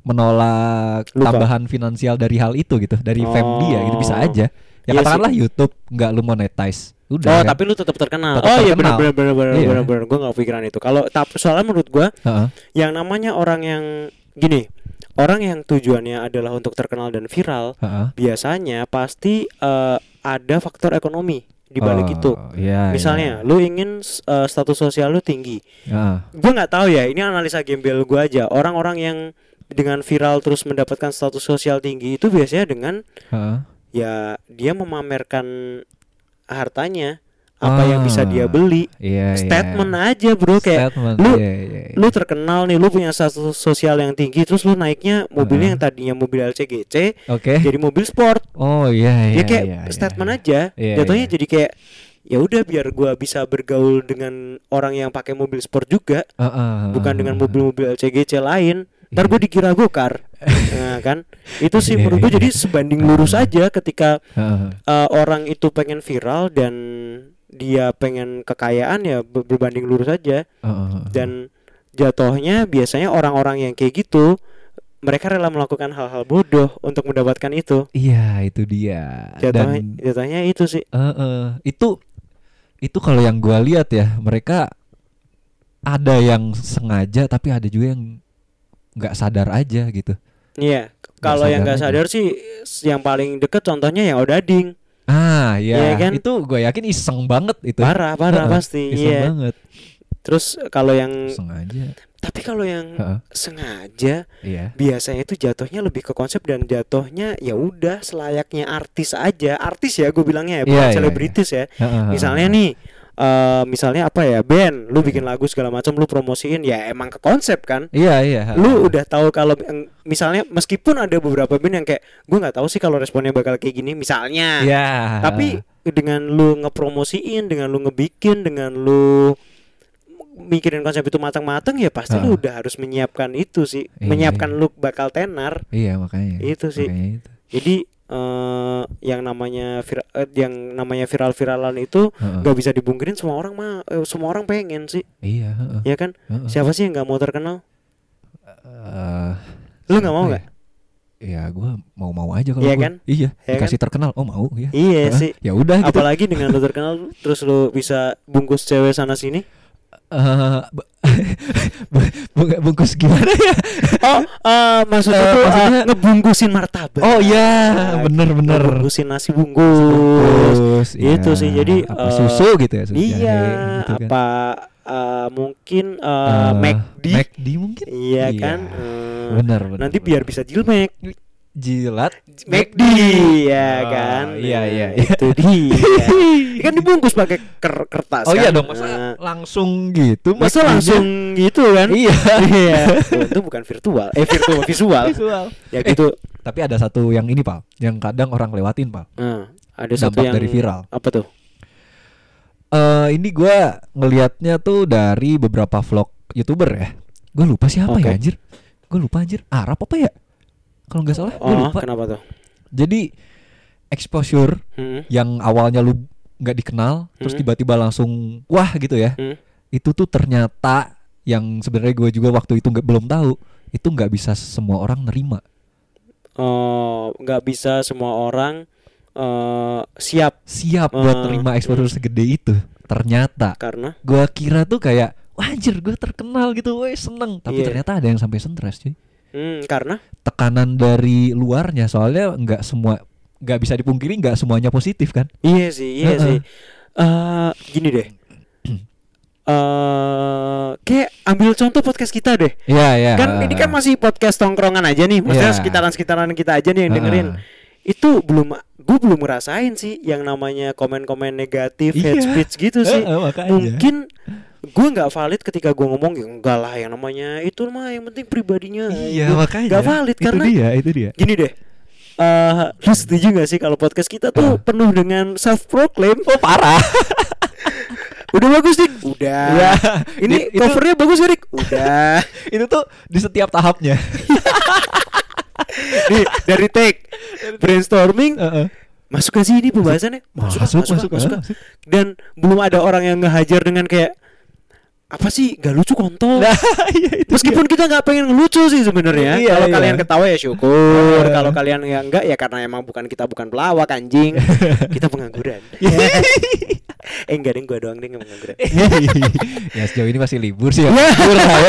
Speaker 1: menolak
Speaker 2: Lupa.
Speaker 1: tambahan finansial dari hal itu gitu, dari fame dia gitu bisa
Speaker 2: Oh.
Speaker 1: aja. Ya
Speaker 2: Iya
Speaker 1: katakanlah YouTube nggak lu monetize, udah.
Speaker 2: Oh
Speaker 1: kan?
Speaker 2: tapi lu tetap terkenal.
Speaker 1: Tetap
Speaker 2: oh iya benar
Speaker 1: terkenal.
Speaker 2: benar benar benar
Speaker 1: Iya.
Speaker 2: benar benar. Gue nggak pikiran itu. Kalau tapi soalnya menurut gua
Speaker 1: Heeh.
Speaker 2: yang namanya orang yang gini orang yang tujuannya adalah untuk terkenal dan viral
Speaker 1: heeh.
Speaker 2: biasanya pasti eh, ada faktor ekonomi di balik
Speaker 1: Oh,
Speaker 2: itu.
Speaker 1: iya,
Speaker 2: Misalnya lu ingin eh, status sosial lu tinggi.
Speaker 1: iya. Heeh.
Speaker 2: Gue nggak tahu ya. Ini analisa gembel gua aja. Orang-orang yang dengan viral terus mendapatkan status sosial tinggi itu biasanya dengan
Speaker 1: heeh.
Speaker 2: ya dia memamerkan hartanya apa yang bisa
Speaker 1: Ah.
Speaker 2: dia beli
Speaker 1: Iya, iya.
Speaker 2: statement aja bro kayak
Speaker 1: Statement,
Speaker 2: lu-
Speaker 1: iya, iya, iya.
Speaker 2: lu terkenal nih lu punya status sosial yang tinggi terus lu naiknya mobilnya yang tadinya mobil LCGC
Speaker 1: Oke.
Speaker 2: jadi mobil sport
Speaker 1: Oh Eh. iya iya.
Speaker 2: ya kayak
Speaker 1: iya, iya,
Speaker 2: statement
Speaker 1: iya.
Speaker 2: aja
Speaker 1: Iya,
Speaker 2: jatuhnya
Speaker 1: iya.
Speaker 2: jadi kayak ya udah biar gua bisa bergaul dengan orang yang pakai mobil sport juga
Speaker 1: Heeh,
Speaker 2: bukan dengan
Speaker 1: heeh,
Speaker 2: mobil-mobil LCGC lain ntar gue dikira gokar nah kan itu sih
Speaker 1: Iya,
Speaker 2: menurut gue
Speaker 1: iya.
Speaker 2: jadi sebanding lurus aja ketika
Speaker 1: heeh, heeh.
Speaker 2: eh, orang itu pengen viral dan dia pengen kekayaan ya ber- berbanding lurus aja
Speaker 1: Heeh, heeh.
Speaker 2: dan jatuhnya biasanya orang-orang yang kayak gitu mereka rela melakukan hal-hal bodoh untuk mendapatkan itu
Speaker 1: Iya itu dia.
Speaker 2: jatuhnya
Speaker 1: Dan
Speaker 2: jatuhnya itu sih
Speaker 1: eh, eh, itu itu kalau yang gua lihat ya mereka ada yang sengaja tapi ada juga yang nggak sadar aja gitu.
Speaker 2: iya k- kalau yang
Speaker 1: sadar gitu.
Speaker 2: nggak sadar sih s- yang paling deket contohnya yang odading
Speaker 1: Ah
Speaker 2: Iya
Speaker 1: iya
Speaker 2: kan?
Speaker 1: itu gue yakin iseng banget itu.
Speaker 2: parah
Speaker 1: Heeh,
Speaker 2: parah pasti
Speaker 1: Iseng
Speaker 2: iya
Speaker 1: banget.
Speaker 2: terus kalau yang
Speaker 1: Sengaja.
Speaker 2: tapi kalau yang
Speaker 1: Heeh.
Speaker 2: sengaja
Speaker 1: Iya.
Speaker 2: biasanya itu jatuhnya lebih ke konsep dan jatuhnya ya udah selayaknya artis aja artis ya gue bilangnya ya bukan
Speaker 1: Iya, iya,
Speaker 2: selebritis ya
Speaker 1: Heeh, Hmm. heeh,
Speaker 2: misalnya
Speaker 1: heeh.
Speaker 2: nih eh, misalnya apa ya band lu bikin lagu segala macam lu promosiin ya emang ke konsep kan
Speaker 1: Iya iya.
Speaker 2: lu udah tahu kalau eng- misalnya meskipun ada beberapa band yang kayak gue nggak tahu sih kalau responnya bakal kayak gini misalnya
Speaker 1: Iya.
Speaker 2: tapi dengan lu ngepromosiin dengan lu ngebikin dengan lu mikirin konsep itu matang-matang ya pasti lu
Speaker 1: Ah.
Speaker 2: udah harus menyiapkan itu sih
Speaker 1: Iya,
Speaker 2: menyiapkan
Speaker 1: iya.
Speaker 2: lu bakal tenar
Speaker 1: iya makanya.
Speaker 2: Itu sih.
Speaker 1: Makanya itu.
Speaker 2: jadi eh, yang namanya vira- eh, yang namanya viral-viralan itu
Speaker 1: Heeh.
Speaker 2: nggak bisa dibungkirin semua orang mah eh, semua orang pengen sih
Speaker 1: Iya. heeh.
Speaker 2: ya kan
Speaker 1: Heeh.
Speaker 2: siapa sih yang nggak mau terkenal
Speaker 1: Eh,
Speaker 2: Lu nggak mau
Speaker 1: siapa
Speaker 2: nggak?
Speaker 1: ya? Ya gue mau-mau aja kalau
Speaker 2: Iya
Speaker 1: gua.
Speaker 2: kan?
Speaker 1: Iya.
Speaker 2: Iya
Speaker 1: Dikasih terkenal, oh mau ya. Heeh.
Speaker 2: Iya sih.
Speaker 1: Ya udah gitu.
Speaker 2: apalagi dengan lu terkenal terus lu bisa bungkus cewek sana sini
Speaker 1: Eh, bu- bu- bu- bungkus gimana ya?
Speaker 2: oh eh, maksudnya
Speaker 1: Eh,
Speaker 2: tuh eh,
Speaker 1: maksudnya-
Speaker 2: ngebungkusin martabak
Speaker 1: Oh iya,
Speaker 2: Nah,
Speaker 1: bener-bener.
Speaker 2: ngebungkusin nasi bungkus
Speaker 1: Bungkus, iya.
Speaker 2: Itu sih, jadi,
Speaker 1: apa,
Speaker 2: eh,
Speaker 1: susu gitu ya? Susu
Speaker 2: iya
Speaker 1: jahe gitu kan.
Speaker 2: apa eh, mungkin eh,
Speaker 1: Eh,
Speaker 2: McD
Speaker 1: McD mungkin.
Speaker 2: iya
Speaker 1: Iya.
Speaker 2: kan Eh,
Speaker 1: Bener, bener,
Speaker 2: nanti
Speaker 1: bener.
Speaker 2: biar bisa jilmek
Speaker 1: Jilat
Speaker 2: McD ya
Speaker 1: Ah,
Speaker 2: kan
Speaker 1: Iya
Speaker 2: Nah,
Speaker 1: iya.
Speaker 2: itu dia kan dibungkus pakai ker- kertas
Speaker 1: Oh
Speaker 2: kan?
Speaker 1: iya dong,
Speaker 2: Nah,
Speaker 1: masa langsung gitu?
Speaker 2: masa
Speaker 1: McD-nya?
Speaker 2: langsung gitu kan
Speaker 1: Iya.
Speaker 2: iya Oh, itu bukan virtual eh virtual visual
Speaker 1: Visual.
Speaker 2: ya gitu
Speaker 1: Tapi ada satu yang ini, Pak, yang kadang orang lewatin, Pak.
Speaker 2: Nah, ada
Speaker 1: Dampak
Speaker 2: satu yang
Speaker 1: dari viral.
Speaker 2: apa tuh
Speaker 1: Eh ini gua ngelihatnya tuh dari beberapa vlog youtuber ya. Gue lupa siapa
Speaker 2: Oke.
Speaker 1: ya anjir. Gue lupa anjir. Arab apa ya? Kalau nggak salah, gue
Speaker 2: oh
Speaker 1: lupa.
Speaker 2: kenapa tuh
Speaker 1: Jadi exposure
Speaker 2: Hmm,
Speaker 1: yang awalnya lu nggak dikenal, terus
Speaker 2: Hmm.
Speaker 1: tiba-tiba langsung wah gitu ya.
Speaker 2: hmm.
Speaker 1: Itu tuh ternyata yang sebenarnya gue juga waktu itu nggak belum tahu itu nggak bisa semua orang nerima.
Speaker 2: Oh, nggak bisa semua orang eh, siap
Speaker 1: Siap buat
Speaker 2: Eh,
Speaker 1: nerima exposure segede itu. Ternyata
Speaker 2: karena
Speaker 1: gua kira tuh kayak wah anjir gue terkenal gitu, woi seneng. Tapi
Speaker 2: Iya.
Speaker 1: ternyata ada yang sampai stres cuy.
Speaker 2: hmm, karena
Speaker 1: tekanan dari luarnya soalnya nggak semua nggak bisa dipungkiri nggak semuanya positif kan
Speaker 2: iya sih iya
Speaker 1: Heeh.
Speaker 2: sih Eh, gini deh eh kayak ambil contoh podcast kita deh
Speaker 1: Iya iya
Speaker 2: kan ini kan masih podcast tongkrongan aja nih maksudnya
Speaker 1: Iya.
Speaker 2: sekitaran sekitaran kita aja nih yang dengerin
Speaker 1: Ah.
Speaker 2: itu belum gue belum ngerasain sih yang namanya komen-komen negatif
Speaker 1: Iya.
Speaker 2: hate speech gitu sih
Speaker 1: Heeh, makanya.
Speaker 2: mungkin gue nggak valid ketika gue ngomong ya enggak lah yang namanya itu mah yang penting pribadinya
Speaker 1: iya
Speaker 2: Gua
Speaker 1: makanya
Speaker 2: nggak valid
Speaker 1: itu
Speaker 2: karena
Speaker 1: dia itu dia
Speaker 2: gini deh eh lu setuju gak sih kalau podcast kita tuh penuh dengan self proclaim
Speaker 1: oh parah
Speaker 2: udah bagus dik udah
Speaker 1: Iya.
Speaker 2: ini
Speaker 1: Di- itu-
Speaker 2: covernya bagus gak dik udah
Speaker 1: itu tuh di setiap tahapnya
Speaker 2: Nih, dari take brainstorming
Speaker 1: Heeh.
Speaker 2: masuk gak sih ini pembahasannya masuk masuk
Speaker 1: Eh. Masuk,
Speaker 2: masuk, masuk,
Speaker 1: masuk,
Speaker 2: Kak. dan belum ada orang yang ngehajar dengan kayak apa sih gak lucu kontol
Speaker 1: nah iya itu
Speaker 2: Oh. Meskipun kita nggak pengen ngelucu sih sebenarnya.
Speaker 1: Iya,
Speaker 2: kalau
Speaker 1: iya.
Speaker 2: kalian ketawa ya syukur.
Speaker 1: Iya.
Speaker 2: kalau kalian ya enggak ya karena emang bukan kita bukan pelawak anjing. kita pengangguran.
Speaker 1: Iya.
Speaker 2: eh enggak deh gua doang deh yang pengangguran.
Speaker 1: dia. Iya, ya sejauh ini masih libur sih ya
Speaker 2: Iya.
Speaker 1: libur lah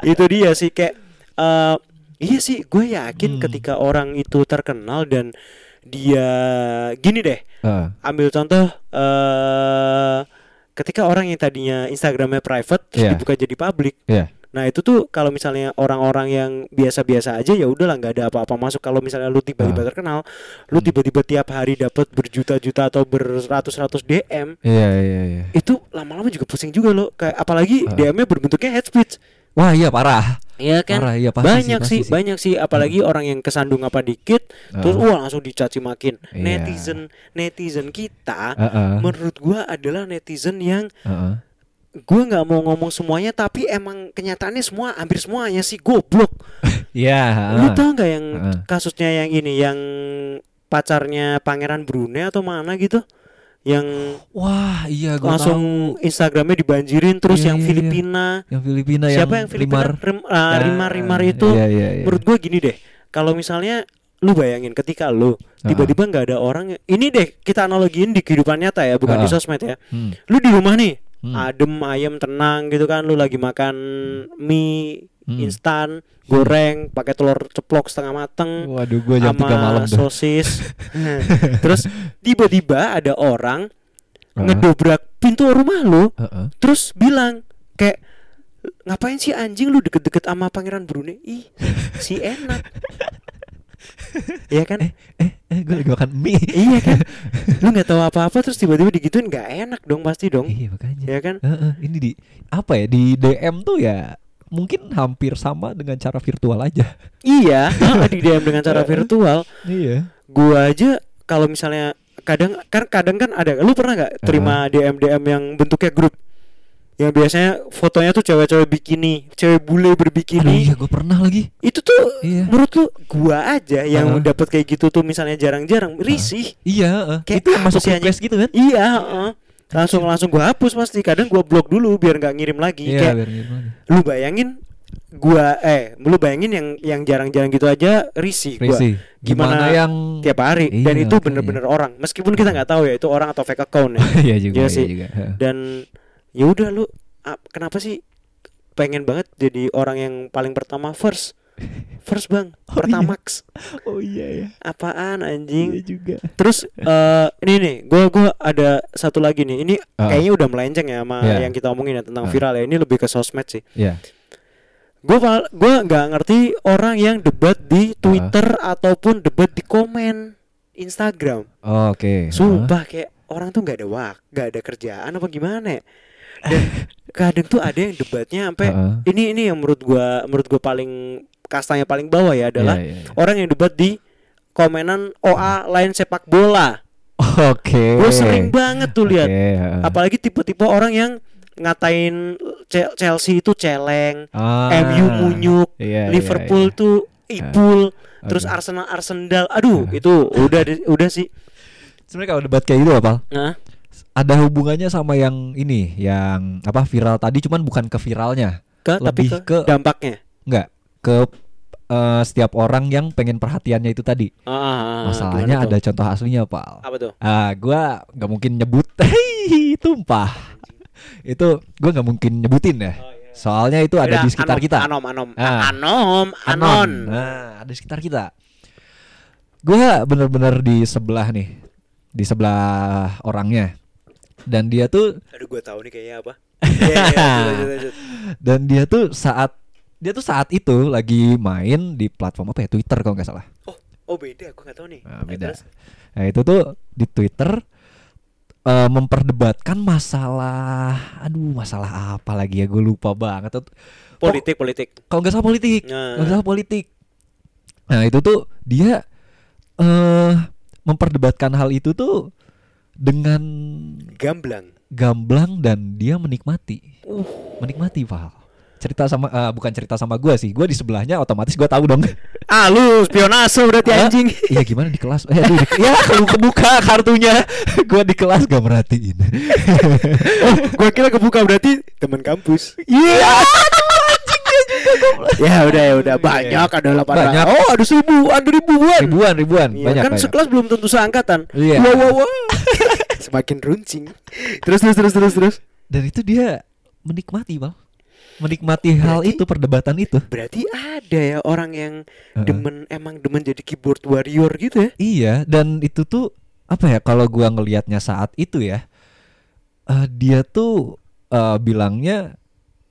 Speaker 1: ya
Speaker 2: itu dia sih kayak eh, iya sih gue yakin
Speaker 1: Hmm.
Speaker 2: ketika orang itu terkenal dan dia gini deh
Speaker 1: Heeh.
Speaker 2: ambil contoh eh ketika orang yang tadinya Instagramnya private terus
Speaker 1: Iya.
Speaker 2: dibuka jadi public
Speaker 1: Iya.
Speaker 2: Nah itu tuh kalau misalnya orang-orang yang biasa-biasa aja ya udahlah nggak ada apa-apa masuk. Kalau misalnya lu tiba-tiba
Speaker 1: Ah.
Speaker 2: terkenal, lu tiba-tiba tiap hari dapat berjuta-juta atau beratus-ratus DM,
Speaker 1: iya iya iya
Speaker 2: itu lama-lama juga pusing juga lo. Kayak apalagi
Speaker 1: Ah.
Speaker 2: DM-nya berbentuknya hate speech.
Speaker 1: wah iya parah
Speaker 2: Iya
Speaker 1: parah iya pasti
Speaker 2: banyak
Speaker 1: pasti Hmm.
Speaker 2: sih, banyak sih apalagi orang yang kesandung apa dikit
Speaker 1: Ah.
Speaker 2: terus wah langsung dicaci makin.
Speaker 1: Iya.
Speaker 2: Netizen netizen kita
Speaker 1: Heeh.
Speaker 2: menurut gua adalah netizen yang
Speaker 1: Heeh.
Speaker 2: gua nggak mau ngomong semuanya tapi emang kenyataannya semua hampir semuanya sih goblok.
Speaker 1: iya
Speaker 2: Lu
Speaker 1: heeh.
Speaker 2: tau nggak yang
Speaker 1: Heeh.
Speaker 2: kasusnya yang ini yang pacarnya Pangeran Brunei atau mana gitu? Yang
Speaker 1: wah iya gua
Speaker 2: langsung
Speaker 1: tahu.
Speaker 2: Instagramnya dibanjirin terus
Speaker 1: Iya,
Speaker 2: yang
Speaker 1: iya, iya.
Speaker 2: Filipina.
Speaker 1: yang Filipina
Speaker 2: Siapa yang Filipina?
Speaker 1: Rimar.
Speaker 2: Rim, ah,
Speaker 1: Ah,
Speaker 2: Rimar Rimar itu
Speaker 1: iya, iya, iya.
Speaker 2: menurut gua gini deh. Kalau misalnya lu bayangin ketika lu
Speaker 1: Ah.
Speaker 2: tiba-tiba nggak ada orang yang- ini deh kita analogiin di kehidupan nyata ya bukan di
Speaker 1: Ah.
Speaker 2: sosmed ya
Speaker 1: Hmm.
Speaker 2: lu di rumah nih
Speaker 1: Hmm.
Speaker 2: adem ayem tenang gitu kan lu lagi makan mie
Speaker 1: Hmm.
Speaker 2: instan goreng pakai telur ceplok setengah mateng
Speaker 1: Waduh, gua jam 3 malam tuh.
Speaker 2: sosis terus tiba-tiba ada orang
Speaker 1: Ah.
Speaker 2: ngedobrak pintu rumah lu
Speaker 1: Heeh.
Speaker 2: terus bilang kayak ngapain sih anjing lu deket-deket sama pangeran Brunei ih si enak Iya kan?
Speaker 1: eh, eh gue lagi makan mie
Speaker 2: iya kan? Lu nggak tahu apa-apa terus tiba-tiba digituin nggak enak dong pasti dong.
Speaker 1: iya makanya
Speaker 2: Iya kan?
Speaker 1: Heeh, ini di apa ya di DM tuh ya mungkin hampir sama dengan cara virtual aja
Speaker 2: Iya, ah, di DM dengan cara
Speaker 1: Eh.
Speaker 2: virtual.
Speaker 1: iya
Speaker 2: Gua aja kalau misalnya kadang kan kadang kan ada lu pernah nggak terima DM DM yang bentuknya grup? Yang biasanya fotonya tuh cewek-cewek bikini, cewek bule
Speaker 1: Aduh,
Speaker 2: berbikini.
Speaker 1: iya gue pernah lagi
Speaker 2: Itu tuh
Speaker 1: Iya.
Speaker 2: menurut lu gua aja yang
Speaker 1: Heeh.
Speaker 2: dapat kayak gitu tuh misalnya jarang-jarang risih.
Speaker 1: iya heeh.
Speaker 2: Kayak
Speaker 1: itu yang
Speaker 2: apa
Speaker 1: masuk
Speaker 2: sih,
Speaker 1: request gitu kan
Speaker 2: Iya, heeh. langsung langsung gua hapus pasti. Kadang gua blok dulu biar nggak ngirim lagi.
Speaker 1: iya
Speaker 2: Kayak
Speaker 1: biar gitu lagi.
Speaker 2: lu bayangin gua eh lu bayangin yang yang jarang-jarang gitu aja risih gua
Speaker 1: Risi, gimana,
Speaker 2: gimana
Speaker 1: yang
Speaker 2: tiap hari
Speaker 1: Iya,
Speaker 2: dan itu
Speaker 1: makanya.
Speaker 2: bener-bener orang meskipun kita nggak tahu ya itu orang atau fake account ya
Speaker 1: iya juga
Speaker 2: Iya
Speaker 1: iya,
Speaker 2: sih.
Speaker 1: juga heeh.
Speaker 2: dan ya udah lu ah, kenapa sih pengen banget jadi orang yang paling pertama first first bang
Speaker 1: Oh,
Speaker 2: pertamax
Speaker 1: oh iya ya
Speaker 2: apaan anjing
Speaker 1: juga
Speaker 2: terus eh ini nih gua gua ada satu lagi nih ini
Speaker 1: Ah.
Speaker 2: kayaknya udah melenceng ya sama
Speaker 1: Iya.
Speaker 2: yang kita omongin ya
Speaker 1: Ah.
Speaker 2: tentang viral ya ini lebih ke sosmed sih
Speaker 1: ya
Speaker 2: gue gue nggak ngerti orang yang debat
Speaker 1: Ah.
Speaker 2: di Twitter ataupun debat di komen Instagram.
Speaker 1: oh, oke
Speaker 2: Sumpah kayak orang tuh nggak ada wak, nggak ada kerjaan apa gimana. ya. Dan kadang tuh ada yang debatnya sampai
Speaker 1: Heeh.
Speaker 2: ini ini yang menurut gua menurut gua paling kastanya paling bawah
Speaker 1: Iya,
Speaker 2: ya adalah
Speaker 1: iya, iya.
Speaker 2: orang yang debat di komenan OA lain sepak bola.
Speaker 1: oke
Speaker 2: Gue sering banget tuh lihat.
Speaker 1: Oke, heeh.
Speaker 2: Apalagi tipe-tipe orang yang ngatain Ce- Chelsea itu celeng,
Speaker 1: Ah,
Speaker 2: MU munyuk,
Speaker 1: iya, iya,
Speaker 2: Liverpool
Speaker 1: iya.
Speaker 2: tuh ibul, terus
Speaker 1: Oke. Ah.
Speaker 2: Arsenal Arsenal. Aduh, itu udah di- udah sih.
Speaker 1: Sebenarnya kalau debat kayak gitu apa?
Speaker 2: Nah,
Speaker 1: Ada hubungannya sama yang ini, yang apa viral tadi, cuman bukan ke viralnya,
Speaker 2: ke
Speaker 1: Lebih
Speaker 2: tapi ke,
Speaker 1: ke-
Speaker 2: dampaknya.
Speaker 1: enggak ke eh, setiap orang yang pengen perhatiannya itu tadi.
Speaker 2: Ah, ah, ah,
Speaker 1: Masalahnya
Speaker 2: gimana
Speaker 1: ada
Speaker 2: tuh?
Speaker 1: contoh aslinya, Pal.
Speaker 2: apa tuh?
Speaker 1: Ah, gua nggak mungkin nyebut, Hei, tumpah. itu gua nggak mungkin nyebutin ya. Soalnya itu ada
Speaker 2: Udah,
Speaker 1: di sekitar
Speaker 2: anom,
Speaker 1: kita.
Speaker 2: Anom, anom,
Speaker 1: Ah.
Speaker 2: anom, anon.
Speaker 1: Anon. Nah, ada di sekitar kita. Gua bener-bener di sebelah nih, di sebelah orangnya. Dan dia tuh
Speaker 2: Aduh, gue tahu nih kayaknya apa. Iya, iya, lanjut, lanjut, lanjut.
Speaker 1: dan dia tuh saat dia tuh saat itu lagi main di platform apa ya Twitter kalau nggak salah.
Speaker 2: Oh, oh beda, gue nggak tahu nih.
Speaker 1: Nah,
Speaker 2: Nah,
Speaker 1: beda.
Speaker 2: terus?
Speaker 1: Nah, itu tuh di Twitter eh, memperdebatkan masalah, aduh masalah apa lagi ya gue lupa banget. Pok-
Speaker 2: Politik, politik.
Speaker 1: kalau nggak salah politik
Speaker 2: Nah.
Speaker 1: kalau nggak salah politik nah itu tuh dia eh memperdebatkan hal itu tuh dengan
Speaker 2: Gamblang.
Speaker 1: gamblang dan dia menikmati
Speaker 2: Uh.
Speaker 1: menikmati Val cerita sama eh, bukan cerita sama gua sih gua di sebelahnya otomatis gua tahu dong
Speaker 2: Ah, lu spionase berarti
Speaker 1: Hah?
Speaker 2: anjing.
Speaker 1: Iya gimana di kelas? Eh, aduh, di- ya kalau kebuka kartunya, gua di kelas gak merhatiin.
Speaker 2: gue Oh, kira kebuka berarti teman kampus.
Speaker 1: Iya, aduh, anjing dia juga goblok.
Speaker 2: Ya udah ya udah
Speaker 1: Iya.
Speaker 2: banyak ada 800.
Speaker 1: Banyak.
Speaker 2: Oh, ada seribu, ada ribuan.
Speaker 1: Ribuan, ribuan,
Speaker 2: Iya,
Speaker 1: banyak.
Speaker 2: kan
Speaker 1: banyak.
Speaker 2: sekelas belum tentu seangkatan.
Speaker 1: Iya.
Speaker 2: Wow, wow, wow. Semakin runcing. Terus terus terus terus terus.
Speaker 1: dan itu dia menikmati bang menikmati hal
Speaker 2: Berarti-
Speaker 1: itu perdebatan itu
Speaker 2: Berarti ada ya orang yang
Speaker 1: Heeh.
Speaker 2: demen emang demen jadi keyboard warrior gitu ya.
Speaker 1: iya dan itu tuh apa ya kalau gua ngelihatnya saat itu ya eh, dia tuh eh, bilangnya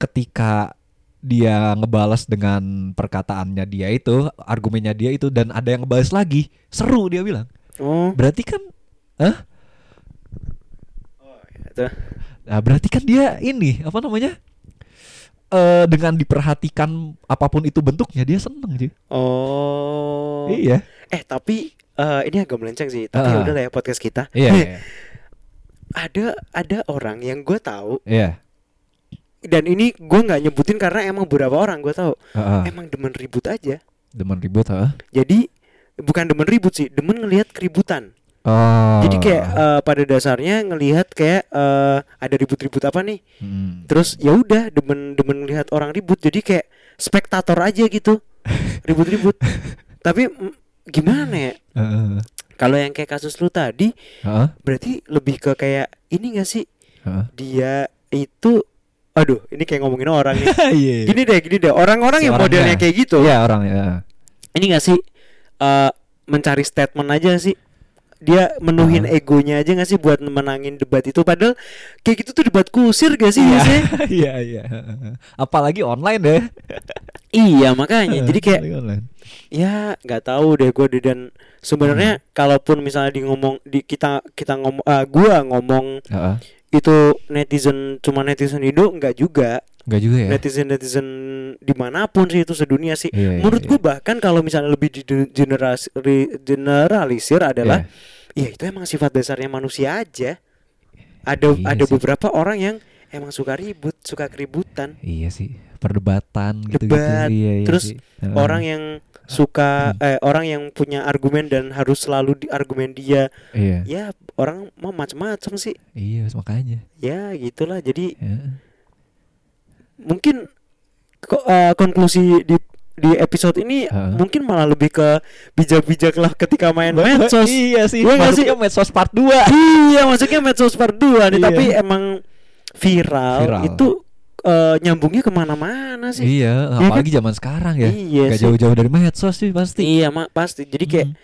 Speaker 1: ketika dia ngebalas dengan perkataannya dia itu argumennya dia itu dan ada yang ngebalas lagi seru dia bilang
Speaker 2: Oh,
Speaker 1: berarti kan Hah?
Speaker 2: itu.
Speaker 1: Nah, berarti kan dia ini apa namanya Eh dengan diperhatikan apapun itu bentuknya dia seneng sih
Speaker 2: Oh.
Speaker 1: iya
Speaker 2: Eh, tapi eh, ini agak melenceng sih. Tapi
Speaker 1: Heeh.
Speaker 2: udah lah ya podcast kita.
Speaker 1: iya
Speaker 2: Eh,
Speaker 1: iya,
Speaker 2: Ada ada orang yang gue tahu
Speaker 1: iya.
Speaker 2: dan ini gue nggak nyebutin karena emang beberapa orang gue tahu
Speaker 1: Heeh.
Speaker 2: emang demen ribut aja.
Speaker 1: demen ribut heeh.
Speaker 2: Jadi bukan demen ribut sih, demen ngelihat keributan.
Speaker 1: Oh.
Speaker 2: Jadi kayak eh, pada dasarnya ngelihat kayak eh, ada ribut-ribut apa nih.
Speaker 1: Hmm.
Speaker 2: Terus ya udah demen-demen ngelihat orang ribut. Jadi kayak spektator aja gitu. Ribut-ribut. Tapi mm, gimana ya?
Speaker 1: Heeh.
Speaker 2: Kalau yang kayak kasus lu tadi
Speaker 1: Heeh.
Speaker 2: berarti lebih ke kayak ini gak sih?
Speaker 1: Heeh.
Speaker 2: Dia itu aduh, ini kayak ngomongin orang nih.
Speaker 1: Iya.
Speaker 2: Gini deh, gini deh. Orang-orang yang
Speaker 1: Seorangnya.
Speaker 2: modelnya kayak gitu.
Speaker 1: Iya orang ya.
Speaker 2: Ini gak sih eh, mencari statement aja sih? Dia menuhin
Speaker 1: Heeh.
Speaker 2: egonya aja gak sih buat menangin debat itu padahal kayak gitu tuh debat kusir gak sih biasanya?
Speaker 1: Iya iya. Apalagi online deh.
Speaker 2: Iya makanya. Jadi kayak
Speaker 1: Balik online.
Speaker 2: ya nggak tahu deh gue dan
Speaker 1: Iya.
Speaker 2: sebenarnya kalaupun misalnya di ngomong di kita kita ngomong ah, gua ngomong
Speaker 1: Heeh.
Speaker 2: itu netizen cuma netizen Indo nggak juga
Speaker 1: Enggak juga ya.
Speaker 2: netizen netizen dimanapun sih itu sedunia sih
Speaker 1: Iya, iya,
Speaker 2: menurut
Speaker 1: iya.
Speaker 2: gue bahkan kalau misalnya lebih di generasi ri- generalisir
Speaker 1: Iya.
Speaker 2: adalah ya itu emang sifat dasarnya manusia aja ada
Speaker 1: Iya
Speaker 2: ada
Speaker 1: sih.
Speaker 2: beberapa orang yang emang suka ribut suka keributan
Speaker 1: Iya sih, perdebatan gitu-gitu.
Speaker 2: Debat,
Speaker 1: Iya, iya
Speaker 2: terus
Speaker 1: sih. Heeh.
Speaker 2: orang yang suka
Speaker 1: Hmm.
Speaker 2: eh, orang yang punya argumen dan harus selalu di argumen dia
Speaker 1: Iya,
Speaker 2: ya orang mah macam-macam sih
Speaker 1: iya makanya.
Speaker 2: ya gitulah jadi
Speaker 1: Heeh.
Speaker 2: mungkin ko- eh, konklusi di di episode ini
Speaker 1: Heeh.
Speaker 2: mungkin malah lebih ke bijak-bijaklah ketika main medsos.
Speaker 1: Iya sih.
Speaker 2: Iya nggak
Speaker 1: masuknya medsos part 2.
Speaker 2: iya, maksudnya medsos part 2 nih,
Speaker 1: Iya.
Speaker 2: tapi emang viral,
Speaker 1: Viral.
Speaker 2: itu eh, nyambungnya kemana-mana sih.
Speaker 1: Iya,
Speaker 2: kan?
Speaker 1: apalagi zaman sekarang ya.
Speaker 2: Iya
Speaker 1: Nggak
Speaker 2: sih.
Speaker 1: jauh-jauh dari medsos sih pasti.
Speaker 2: Iya, mak pasti. Jadi kayak
Speaker 1: Mm.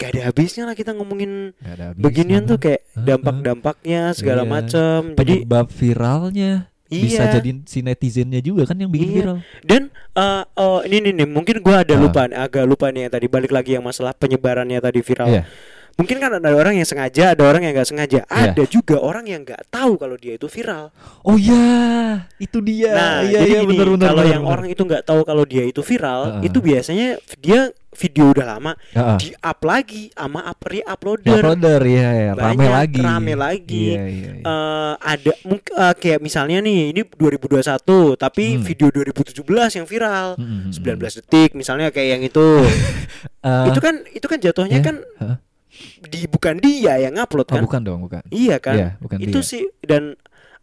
Speaker 2: nggak ada habisnya lah kita ngomongin
Speaker 1: Nggak ada habisnya,
Speaker 2: beginian tuh
Speaker 1: Bang.
Speaker 2: kayak
Speaker 1: Heeh.
Speaker 2: dampak-dampaknya segala
Speaker 1: Iya.
Speaker 2: macam. Jadi
Speaker 1: penyebab viralnya bisa
Speaker 2: iya.
Speaker 1: jadi si netizennya juga kan yang bikin
Speaker 2: Iya.
Speaker 1: viral.
Speaker 2: Dan eh eh, ini nih, nih, mungkin gua ada
Speaker 1: Ah.
Speaker 2: lupa nih, agak lupa nih yang tadi balik lagi yang masalah penyebarannya tadi viral.
Speaker 1: Iya.
Speaker 2: Mungkin kan ada orang yang sengaja, ada orang yang nggak sengaja.
Speaker 1: Iya.
Speaker 2: Ada juga orang yang nggak tahu kalau dia itu viral.
Speaker 1: Oh iya, itu dia.
Speaker 2: nah,
Speaker 1: iya iya
Speaker 2: jadi gini,
Speaker 1: benar benar.
Speaker 2: kalau
Speaker 1: benar,
Speaker 2: yang
Speaker 1: benar.
Speaker 2: orang itu nggak tahu kalau dia itu viral,
Speaker 1: Ah, ah.
Speaker 2: itu biasanya dia video udah lama
Speaker 1: Heeh.
Speaker 2: di-up lagi sama up-
Speaker 1: Yang
Speaker 2: re-uploader.
Speaker 1: uploader ya, ya, rame
Speaker 2: Banyak,
Speaker 1: lagi.
Speaker 2: rame lagi.
Speaker 1: Iya iya. iya.
Speaker 2: Eh, ada mungkin eh, kayak misalnya nih ini 2021 tapi
Speaker 1: Hmm.
Speaker 2: video 2017 yang viral
Speaker 1: Mm, mm, mm.
Speaker 2: 19 detik misalnya kayak yang itu
Speaker 1: Eh,
Speaker 2: itu kan itu kan
Speaker 1: iya.
Speaker 2: jatuhnya kan
Speaker 1: Heeh.
Speaker 2: di bukan dia yang
Speaker 1: Oh,
Speaker 2: upload kan
Speaker 1: bukan dong, bukan.
Speaker 2: iya kan
Speaker 1: Iya, bukan
Speaker 2: itu
Speaker 1: dia.
Speaker 2: sih dan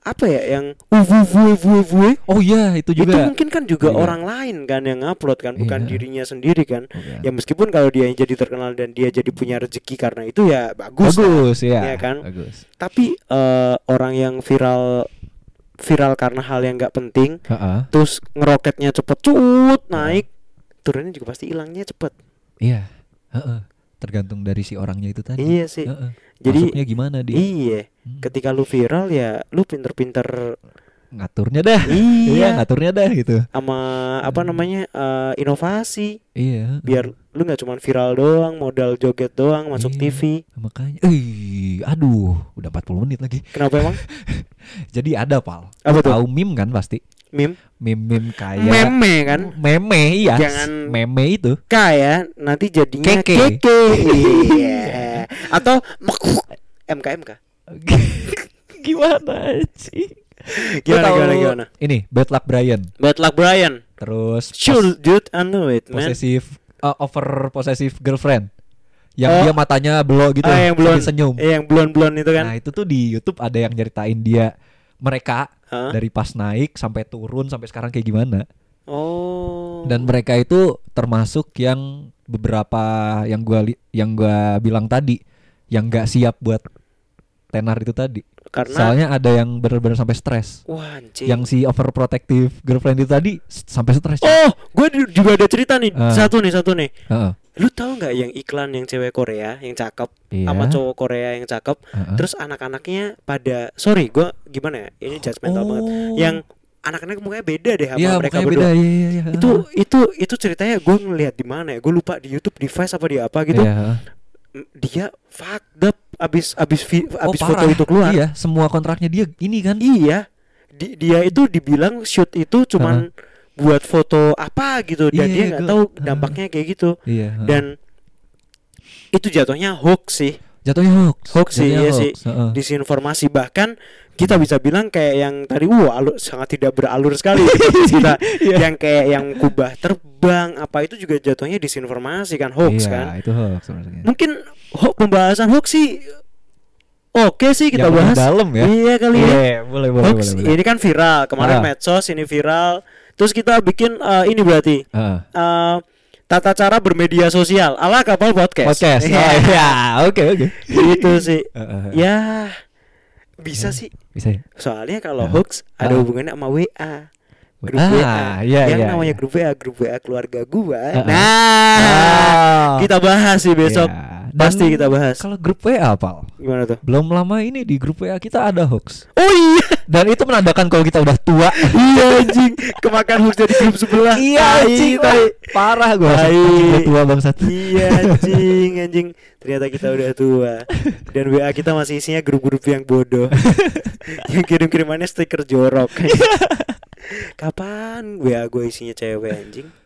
Speaker 2: apa ya yang uwu uwu uwu uwu
Speaker 1: Oh iya, itu
Speaker 2: itu
Speaker 1: juga.
Speaker 2: mungkin kan juga
Speaker 1: Iya.
Speaker 2: orang lain kan yang upload kan bukan
Speaker 1: Iya.
Speaker 2: dirinya sendiri kan
Speaker 1: Bukan.
Speaker 2: ya meskipun kalau dia yang jadi terkenal dan dia jadi punya rezeki karena itu ya bagus,
Speaker 1: bagus ya.
Speaker 2: Iya kan?
Speaker 1: Bagus.
Speaker 2: tapi eh, orang yang viral viral karena hal yang nggak penting
Speaker 1: Heeh.
Speaker 2: terus ngeroketnya cepet cuut naik turunnya juga pasti hilangnya cepet
Speaker 1: Iya. Heeh. Tergantung dari si orangnya itu tadi.
Speaker 2: iya sih
Speaker 1: Heeh.
Speaker 2: Jadi-
Speaker 1: Masuknya gimana dia?
Speaker 2: iya
Speaker 1: Hmm.
Speaker 2: ketika lu viral ya lu pinter-pinter
Speaker 1: Ngaturnya dah. Iya, Hmm.
Speaker 2: iya
Speaker 1: ngaturnya dah gitu.
Speaker 2: sama apa namanya eh, inovasi
Speaker 1: Iya. heeh.
Speaker 2: biar lu nggak cuman viral doang modal joget doang masuk
Speaker 1: Iya.
Speaker 2: TV
Speaker 1: makanya eh aduh, udah 40 menit lagi.
Speaker 2: kenapa emang
Speaker 1: Jadi ada, Pal.
Speaker 2: apa tuh
Speaker 1: Tahu Ah, iya. meme kan pasti.
Speaker 2: meme
Speaker 1: Meme-meme kayak
Speaker 2: meme kan
Speaker 1: meme iya.
Speaker 2: Jangan-
Speaker 1: meme itu.
Speaker 2: kaya nanti jadinya
Speaker 1: Keke.
Speaker 2: keke iya atau mekuk MKMK
Speaker 1: gimana sih?
Speaker 2: gimana gimana gimana
Speaker 1: Ini Bad Luck Brian.
Speaker 2: bad luck Brian
Speaker 1: Terus
Speaker 2: sure dude I know it
Speaker 1: pos-
Speaker 2: man
Speaker 1: posesif eh, over posesif girlfriend. Yang
Speaker 2: Oh.
Speaker 1: dia matanya belok gitu,
Speaker 2: Ah, yang belum
Speaker 1: sambil senyum.
Speaker 2: yang belum belum itu kan
Speaker 1: Nah, itu tuh di YouTube ada yang nyeritain dia mereka
Speaker 2: Hah?
Speaker 1: dari pas naik sampai turun sampai sekarang kayak gimana.
Speaker 2: oh
Speaker 1: Dan mereka itu termasuk yang beberapa yang gua li- yang gua bilang tadi yang nggak siap buat tenar itu tadi.
Speaker 2: karena
Speaker 1: Soalnya ada yang benar-benar sampai stres.
Speaker 2: wah anjing
Speaker 1: Yang si overprotective girlfriend itu tadi s- sampai stres.
Speaker 2: oh gue juga ada cerita nih
Speaker 1: Ah.
Speaker 2: satu nih satu nih
Speaker 1: Heeh.
Speaker 2: lu tahu nggak yang iklan yang cewek Korea yang cakep
Speaker 1: Iya.
Speaker 2: sama cowok Korea yang cakep
Speaker 1: Heeh.
Speaker 2: terus anak-anaknya pada sorry gua gimana ya ini judgmental
Speaker 1: Oh.
Speaker 2: banget yang anak-anak mukanya beda deh sama
Speaker 1: Iya,
Speaker 2: mereka
Speaker 1: mukanya
Speaker 2: berdua
Speaker 1: beda. Iya, iya, iya.
Speaker 2: itu itu itu ceritanya gue ngelihat di mana ya gue lupa di YouTube di Vice apa di apa gitu
Speaker 1: Iya.
Speaker 2: M- dia fucked up abis abis vi-
Speaker 1: Oh,
Speaker 2: abis foto
Speaker 1: parah.
Speaker 2: itu keluar
Speaker 1: Iya, semua kontraknya dia ini kan.
Speaker 2: Iya. Di- dia itu dibilang shoot itu cuman buat foto apa gitu
Speaker 1: Iya,
Speaker 2: dan dia
Speaker 1: iya,
Speaker 2: nggak
Speaker 1: gua-
Speaker 2: tahu
Speaker 1: Heeh.
Speaker 2: dampaknya kayak gitu
Speaker 1: Iya. heeh.
Speaker 2: dan itu jatuhnya hoax sih
Speaker 1: Jatuhnya hoax.
Speaker 2: Hoax sih,
Speaker 1: Jatuhnya
Speaker 2: iya sih.
Speaker 1: Heeh.
Speaker 2: disinformasi bahkan kita bisa bilang kayak yang tadi wah alur, sangat tidak beralur sekali gitu. kita
Speaker 1: Iya.
Speaker 2: yang kayak yang kubah terbang apa itu juga jatuhnya disinformasi kan hoax
Speaker 1: Iya,
Speaker 2: kan
Speaker 1: itu hoax sebenarnya.
Speaker 2: mungkin ho- pembahasan hoax sih oke sih kita
Speaker 1: Yang lebih
Speaker 2: bahas
Speaker 1: dalam ya.
Speaker 2: iya kali ya
Speaker 1: Iya, boleh boleh
Speaker 2: hoax
Speaker 1: boleh. boleh.
Speaker 2: ini kan viral kemarin
Speaker 1: Ah.
Speaker 2: medsos ini viral terus kita bikin eh, ini berarti
Speaker 1: Heeh.
Speaker 2: eh, tata cara bermedia sosial ala kapal podcast
Speaker 1: Podcast.
Speaker 2: Iya.
Speaker 1: Oh, iya, oke oke.
Speaker 2: gitu sih
Speaker 1: Heeh, heeh.
Speaker 2: ya bisa sih
Speaker 1: Bisa ya?
Speaker 2: soalnya kalau
Speaker 1: Ah.
Speaker 2: hoax ada
Speaker 1: Ah.
Speaker 2: hubungannya sama WA grup
Speaker 1: Ah,
Speaker 2: WA
Speaker 1: iya,
Speaker 2: yang
Speaker 1: iya,
Speaker 2: namanya
Speaker 1: iya.
Speaker 2: grup WA grup WA keluarga gua
Speaker 1: Ah, ah.
Speaker 2: nah
Speaker 1: Ah.
Speaker 2: kita bahas sih besok
Speaker 1: Iya, Dan
Speaker 2: Pasti kita bahas.
Speaker 1: Kalau grup WA, Pal.
Speaker 2: Gimana tuh?
Speaker 1: Belum lama ini di grup WA kita ada hoax.
Speaker 2: Oh iya.
Speaker 1: Dan itu menandakan kalau kita udah tua.
Speaker 2: iya anjing, kemakan hoax dari grup sebelah.
Speaker 1: iya,
Speaker 2: Tai,
Speaker 1: anjing.
Speaker 2: tai.
Speaker 1: Parah gua.
Speaker 2: Tai.
Speaker 1: Anjing, udah tua bangsat.
Speaker 2: Iya anjing, anjing. Ternyata kita udah tua. Dan WA kita masih isinya grup-grup yang bodoh.
Speaker 1: Iya.
Speaker 2: yang kirim-kirimannya stiker jorok. Kapan WA gue isinya cewek anjing?